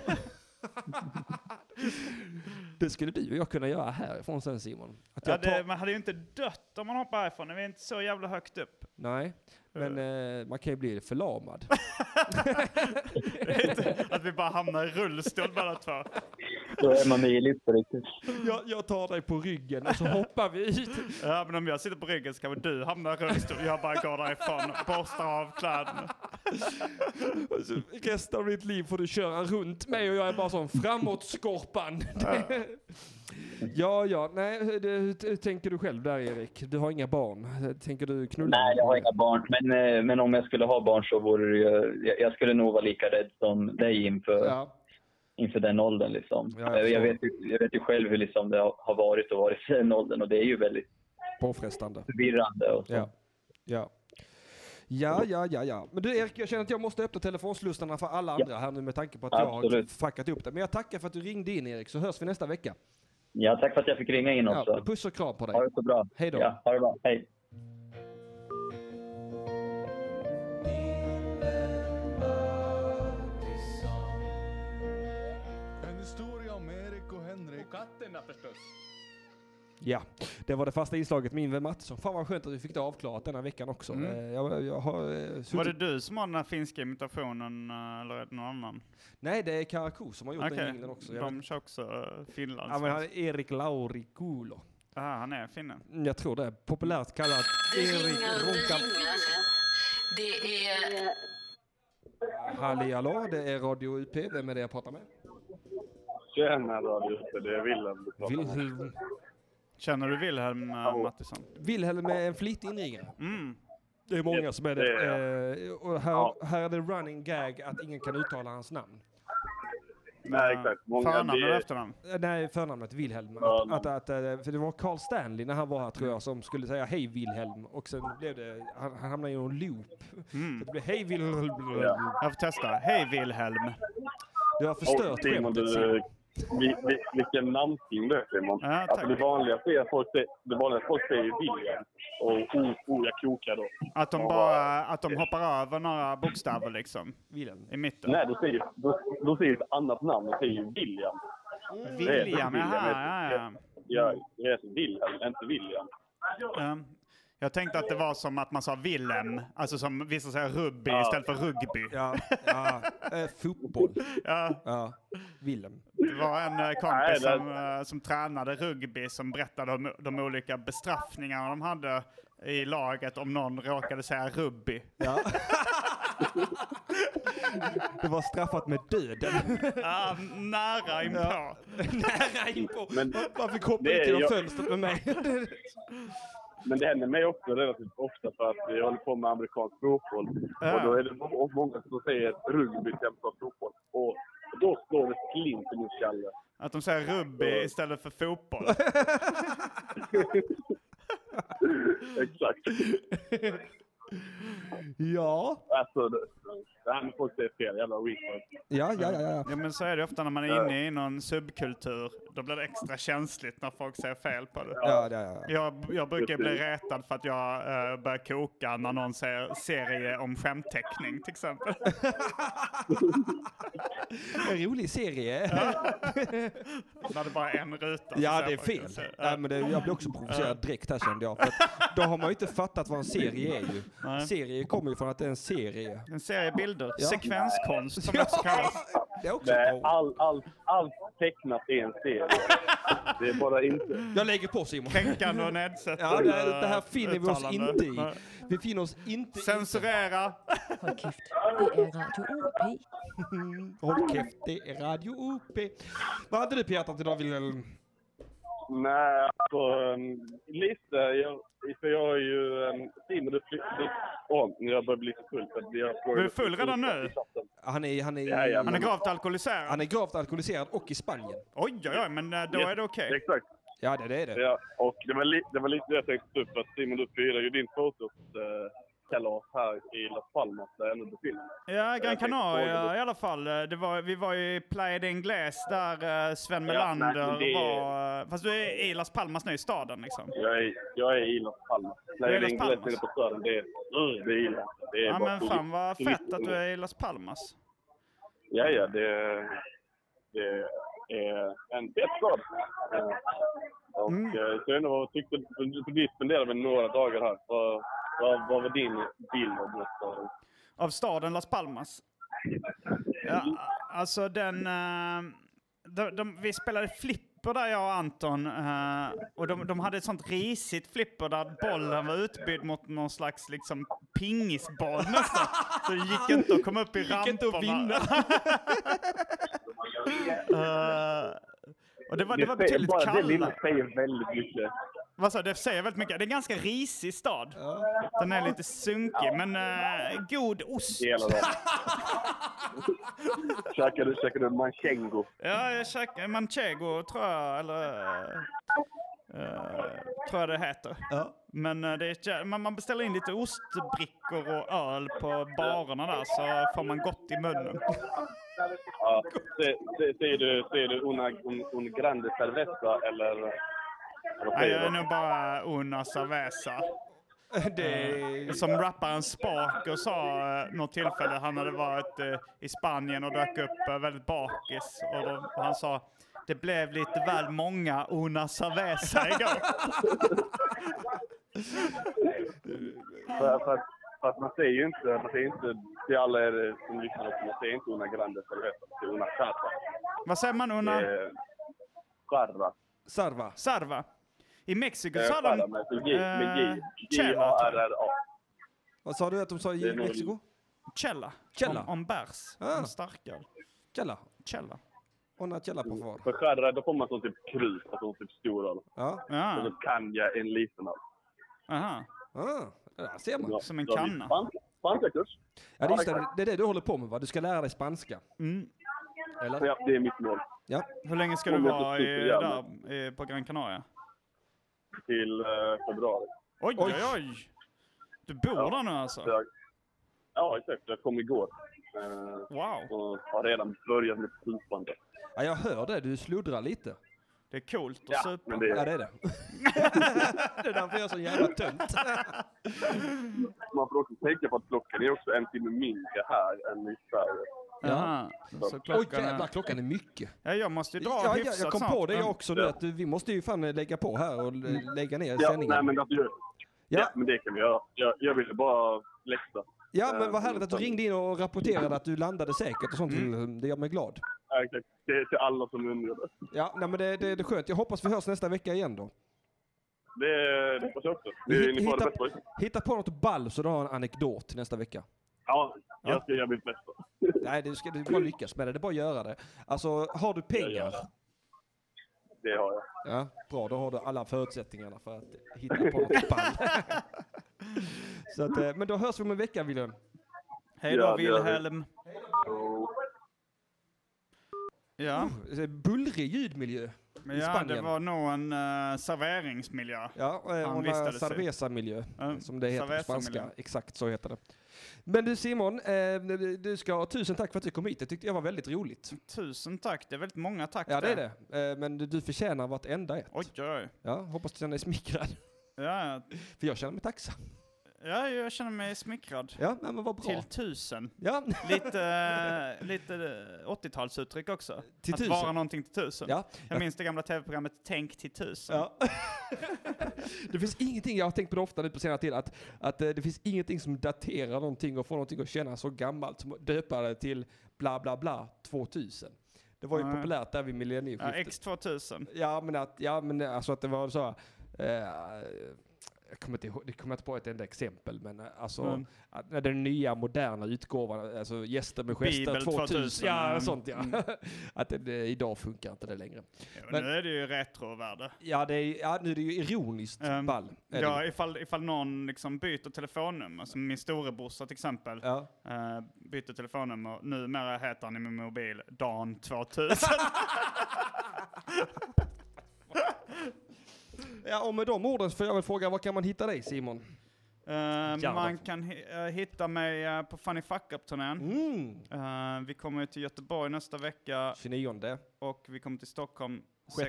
A: det skulle du och jag kunna göra härifrån sen Simon. Att
B: Ja,
A: jag
B: det,
A: tar...
B: man hade ju inte dött om man hoppar härifrån, vi är inte så jävla högt upp.
A: Nej, men eh, man kan ju bli förlamad.
B: Att vi bara hamnar i rullstol båda två.
H: Då är man nihilist på riktigt.
A: Jag, jag tar dig på ryggen och så hoppar vi ut.
B: Ja, men om jag sitter på ryggen så kanske du hamnar i rullstol, jag bara går därifrån, borstar av kläderna.
A: Och så resten av ditt liv får du köra runt mig och jag är bara sån framåtskorpan. Det- ja, ja, nej, hur, det- hur, hur tänker du själv där Erik? Du har inga barn. Tänker du knulla?
H: Nej, jag har inga barn. Men, eh, men om jag skulle ha barn så vore det ju... Jag, jag skulle nog vara lika rädd som dig inför,
A: Ja.
H: inför den åldern. Liksom.
A: Ja, jag
H: Eh, jag,
A: förstår.
H: vet, ju- jag vet ju själv hur liksom, det har har varit och varit i den åldern och det är ju väldigt
A: Påfrestande.
H: förvirrande. Och så.
A: Ja. Ja. Ja, ja, ja, ja. Men du Erik, jag känner att jag måste öppna telefonslussarna för alla andra här nu med tanke på att jag har
H: Absolut.
A: fuckat upp det. Men jag tackar för att du ringde in Erik, så hörs vi nästa vecka.
H: Ja, tack för att jag fick ringa in också.
A: Ja, puss och kram på dig.
H: Ha det så bra.
A: Hej då.
H: Ja, ha det bra. Hej.
I: En historia om Erik och Henrik. Och katterna förstås.
A: Ja, det var det fasta inslaget med Ingvar Mattsson. Fan vad skönt att vi fick det avklarat denna veckan också.
B: Mm.
A: Eh, Jag, jag har, eh, suttit...
B: Var det du som har den här finska imitationen eh, eller är det någon annan?
A: Nej, det är Karakou som har gjort den
B: Okej,
A: jingeln också. Jag vet-
B: de kör också eh, Finland.
A: Ja, men han är Erik Laurikulo.
B: Aha, han är finne.
A: Mm, Jag tror det. är Populärt kallad Erik Runka...
C: Det är
A: Halli hallå, det är Radio UP. Vem är det jag pratar med?
J: Tjena Radio det är Wilhelm.
A: Wilhelm.
B: Känner du Wilhelm eh, Mattisson?
A: Wilhelm är en flitig inringare.
B: Mm.
A: Det är många som är
J: det
A: det.
J: är
A: Eh, Och här, här är det running gag att ingen kan uttala hans namn.
J: Nej,
B: Eh,
J: exakt. Många
B: Förnamn
J: blir-
B: eller efternamn?
A: Eh, Nej, förnamnet Wilhelm. Att,
J: Förnamn.
A: att, att, eh, för det var Carl Stanley när han var här tror
J: Mm.
A: jag som skulle säga hej Wilhelm och sen blev det, han, han hamnade i någon loop. Så
B: Mm.
A: det blev hej Wilhelm.
J: Ja.
B: Jag får testa. Hej Wilhelm!
A: Du har förstört
J: Och Simon,
A: skämtet.
J: du,
A: Simon.
J: vi, vi, vilken namnting du är Simon.
B: Ja, tack.
J: alltså, det vanligaste är att folk, säger- det vanligaste folk säger är William. Och o, o, jag krokar då.
B: Att de, bara, att de hoppar över några bokstäver liksom,
A: Wilhelm.
B: i mitten.
J: Nej, då säger, då, då säger ett annat namn. Då säger William.
B: William,
J: det är
B: jaha,
J: William.
B: ja, ja.
J: Jag, jag heter Wilhelm, inte William.
B: Ja. Ehm, Jag tänkte att det var som att man sa Willem, alltså som vissa säger rugby istället för rugby.
A: Ja, ja. Eh, fotboll.
B: Ja,
A: Ja, Wilhelm.
B: det var en eh,
J: Nej, det-
B: kompis som, eh, som tränade rugby som berättade om de olika bestraffningarna de hade i laget om någon råkade säga rugby.
A: Ja. Det var straffat med döden.
B: Ja, Ah, nära inpå.
A: Nära inpå.
J: Men-
A: Varför kopplade du
J: Det är
A: till jag...
J: jag-
A: fönstret med mig?
J: Men det händer mig också relativt ofta för att jag håller på med amerikansk fotboll.
B: Ja.
J: Och då är det må- många som säger rugby istället för fotboll. Och då slår det klint i min skalle.
B: Att de säger rugby istället för fotboll.
J: Exakt.
A: ja.
J: Alltså, det, det här med folk säger fel. Jävla weakness.
A: Ja, ja, ja, ja.
B: Ja, men så är det ofta när man är inne i någon subkultur. Då blir det extra känsligt när folk säger fel på det.
A: Ja, ja, ja.
B: Jag, jag brukar bli retad för att jag eh, börjar koka när någon säger serie om skämtteckning till exempel.
A: En rolig serie.
B: när det bara är en ruta. så
A: Ja,
B: Alltså, säger
A: det är
B: folk
A: fel.
B: så-
A: Nej, men det, jag blev också provocerad direkt här kände jag. För att då har man ju inte fattat vad en serie är ju.
B: Nej.
A: Serie kommer ju från att det är en serie.
B: En serie bilder.
A: Ja.
B: Sekvenskonst som det
A: Ja,
B: också kallas.
A: det är också
J: Nej,
A: bra.
J: all, all, allt tecknat är en serie. Det är bara inte...
A: Jag lägger på Simon.
B: Kränkande och nedsättande
A: Ja, det, det här finner vi oss
B: uttalande.
A: inte i.
B: Nej.
A: Vi finner oss inte i.
B: Censurera!
K: Hold kæft, det er Radio OP.
A: Håll käft, det är Radio OP. Vad hade du på hjärtat idag Wilhelm?
J: Nej, alltså um, lite. Jag, för jag har ju... Um, Simon, du flyttade... Åh, jag börjar bli lite full. För att jag
B: Du är full redan nu?
A: Han är, han är,
J: Jajamän.
B: Han är gravt alkoholiserad.
A: han är gravt alkoholiserad och i Spanien.
B: Oj, oj, oj, men eh, då är det okej.
J: Exakt.
A: Ja, det, det är det.
J: Ja, och det var, li- det var lite det jag tänkte upp. Att Simon, du firar ju din fotoskalas här i Las Palmas, där jag nu befinner mig.
B: Ja, Gran
J: tänkte fråga
B: Canaria
J: dig.
B: i alla fall. Eh, Det var, vi var ju i Playa de Ingles där eh, Sven Melander
J: nej, men det-
B: var... eh, Fast du är i Las Palmas nu, i staden liksom.
J: Jag är, jag är i Las Palmas.
B: är i
J: Nej, det är
B: Las
J: inte lätt
B: Palmas.
J: inne på stranden. Det är, mm, det är illa. Det är
B: Ja
J: bara
B: men
J: turist-
B: fan vad fett att du är i Las Palmas.
J: Ja, ja, det, det är en fet stad. Eh, Och
B: Mm.
J: eh, så jag undrar vad tyckte du? Vi spenderade väl några dagar här. Vad, vad, vad var din bild av den här staden?
B: Av staden Las Palmas. Ja, alltså den... eh, De, de, vi spelade flipper där jag och Anton. eh, och de, de hade ett sånt risigt flipper där bollen var utbytt mot någon slags liksom pingisboll nästan. Så det gick inte att komma upp i ramperna.
A: inte att vinna.
B: Eh, och det var, det var
J: säger-
B: betydligt
J: bara det lilla
B: kallare.
J: säger väldigt mycket.
B: Vad sa du? Det säger väldigt mycket. Det är en ganska risig stad. Den är lite sunkig, men eh, god ost.
J: i Hela dagen. käkar du, käkar du manchego?
B: Ja, jag käkade manchego tror jag, eller... eh, tror jag det heter. Men eh, det är, ett jä- man, man beställer in lite ostbrickor och öl på barerna där så får man gott i munnen.
J: Ja. Se- se- Säger du, säger du una, un, un grande cerveza eller? vad
B: Nej,
J: säger
B: jag är
J: du?
B: nog bara Una Cerveza. Eh,
A: Det...
B: Som rapparen Sparker sa eh, något tillfälle, han hade varit eh, i Spanien och dök upp eh, väldigt bakis. Och då, och han sa det blev lite väl många Una Cerveza igår.
J: För, för, att- för att man säger ju inte, man säger inte till alla er som lyssnar, också, man säger inte una grande cerveza, man säger una charra.
B: Vad säger man Una?
J: Eh, Charra.
A: Sarva.
B: Sarva. I Mexiko
J: Eh,
B: sa de...
J: charra med G. Med
B: eh,
J: G.
B: Chela, tror jag.
J: J-A-R-R-A.
A: Vad sa du att de sa
J: Det
A: i
J: är nog-
A: Mexiko?
B: Chela.
A: Chela.
B: Om, om bärs.
A: Ah.
B: Om starköl.
A: Källa.
B: Chela.
A: Ona källa på far.
J: För charra, då får man sån typ krus, alltså typ storöl.
A: Ja.
B: Ja.
J: Och så kanja en liten öl.
B: Aha.
A: Ah, det där ser man.
B: Som en
J: Då har vi
B: kanna.
J: spanska- Spanska kurs.
A: Ja, det, är just det, det är det du håller på med va? Du ska lära dig spanska.
B: Mm.
A: Eller?
J: Ja, det är mitt mål.
A: Ja.
B: Hur länge ska du
J: Om jag
B: vara
J: förstod
B: i,
J: det jävla.
B: där eh, på Gran Canaria?
J: Till eh, februari.
B: Oj, oj, oj! Du bor
J: Ja.
B: där nu
J: Så
B: alltså?
J: jag, ja, exakt. Jag kom igår. Eh,
B: Wow.
J: Och har redan börjat med supande.
A: ja, jag hör det. Du sluddrar lite.
B: Det är coolt att
J: Ja,
B: supa.
J: men det
A: Ja,
J: är,
A: det är det. det är därför jag är så jävla tönt.
J: man får också tänka på att klockan är också en timme mindre här än i Sverige.
B: Jaha. Så
A: Oj,
B: klockan
A: jävlar,
B: är...
A: klockan är mycket.
B: Ja, jag måste ju dra
A: Ja, jag,
B: hyfsat
A: jag kom
B: snart, Mm.
A: på det
B: men-
A: jag också nu, att vi måste ju fan lägga på här och l- lägga ner
J: Mm. Ja, nej,
A: sändningen.
J: men, alltså, jag,
A: Ja.
J: ja. men det kan vi göra. Jag, jag ville bara läxa.
A: Ja,
J: eh,
A: men vad härligt att du
J: utan-
A: ringde in och rapporterade att du landade säkert och sånt.
J: Mm.
A: Mm, Det gör mig glad.
J: Ja, exakt. Till, till alla som undrade.
A: Ja, nej, men det, det, det är skönt. Jag hoppas vi hörs nästa vecka igen då.
J: Det det hoppas jag också.
A: Hitta-
J: Ni, ni får ha det
A: hitta-
J: bästa.
A: Hitta på något ball så du har en anekdot till nästa vecka.
J: Ja, jag ska göra mitt bästa.
A: Nej, du ska du bara lyckas med det. Det är bara att göra det. Alltså, har du pengar?
J: Det har jag.
A: Ja, bra. Då har du alla förutsättningarna för att hitta på något ball. så att, eh, men då hörs vi om en vecka, Wilhelm.
B: Hej då
J: Ja, det gör vi.
B: Wilhelm.
J: Och-
B: Ja,
A: Eh, Bullrig ljudmiljö
B: men
A: i
B: ja det
A: Spanien.
B: var nog en eh, serveringsmiljö.
A: Ja, eh,
B: Han
A: hon har
B: vistades i-
A: cerveza-miljö,
B: Ja,
A: som det heter på spanska.
B: cerveza-miljö.
A: Exakt så heter det. Men du Simon, eh, du ska ha tusen tack för att du kom hit. Det tyckte jag var väldigt roligt.
B: Tusen tack, det är väldigt många tack.
A: Ja, det är
B: där.
A: det. Eh, men du- du förtjänar vartenda ett.
B: Oj, oj.
A: Ja, hoppas du känner dig smickrad.
B: Ja,
A: För jag känner mig tacksam.
B: ja, jag känner mig smickrad.
A: Ja, nej, men vad bra.
B: Till tusen.
A: Ja,
B: Lite, eh, lite eh, 80-talsuttryck också.
A: Till
B: att
A: tusen.
B: vara någonting till tusen.
A: ja.
B: Jag minns det gamla tv-programmet Tänk till tusen.
A: ja. Det finns ingenting, jag har tänkt på det ofta nu på senare tid, att, att eh, det finns ingenting som daterar någonting och får någonting att kännas så gammalt som att döpa det till bla bla bla 2000. Det var ju
B: Nej.
A: populärt där vid
B: Ja,
A: millennieskiftet.
B: X2000.
A: Ja men att, ja men alltså att det var så här, eh, jag kommer inte ihåg, det kommer jag inte på ett enda exempel men eh, alltså
B: Mm.
A: att, när den nya moderna utgåvan, alltså gäster med gester
B: Bibel
A: 2000,
B: 2000,
A: ja
B: mm.
A: sånt ja.
B: Mm.
A: att det, det, idag funkar inte det längre.
B: Ja,
A: Men-
B: nu är det ju retrovärde.
A: Ja, det är, ja nu är det ju ironiskt
B: Ehm,
A: ball. är det
B: Ja,
A: ju.
B: ifall, ifall någon liksom byter telefonnummer, som min storebrorsa till exempel,
A: ja.
B: eh, bytte telefonnummer. Numera heter han i min mobil Dan 2000.
A: ja och med de orden så får jag väl fråga, var kan man hitta dig Simon?
B: Eh, man kan hi- eh, hitta mig eh, på Funny Fuck Up-turnén.
A: Mm.
B: Eh, vi kommer till Göteborg nästa vecka
A: 29.
B: och vi kommer till Stockholm
A: Sjätte.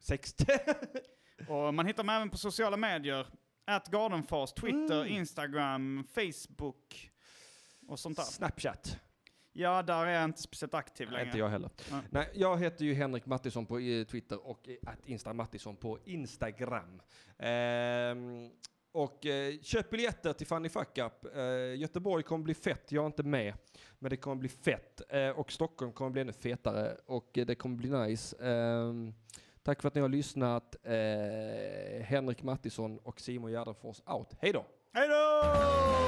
B: 6.
A: Sexte.
B: Och man hittar mig även på sociala medier. At Gardenfors, Twitter,
A: Mm.
B: Instagram, Facebook och sånt där.
A: Snapchat.
B: Ja, där är jag inte speciellt aktiv
A: Nej,
B: längre.
A: inte jag heller.
B: Ja.
A: Nej, jag heter ju Henrik Mattisson på eh, Twitter och eh, att Insta Mattisson på Instagram. Ehm, och eh, köp biljetter till Fanny Fuck Up. Eh, Göteborg kommer bli fett, jag är inte med. Men det kommer bli fett. Eh, och Stockholm kommer bli ännu fetare. Och eh, det kommer bli nice. Ehm, tack för att ni har lyssnat. Eh, Henrik Mattisson och Simon Gärdenfors out. Hej då!
B: Hej då!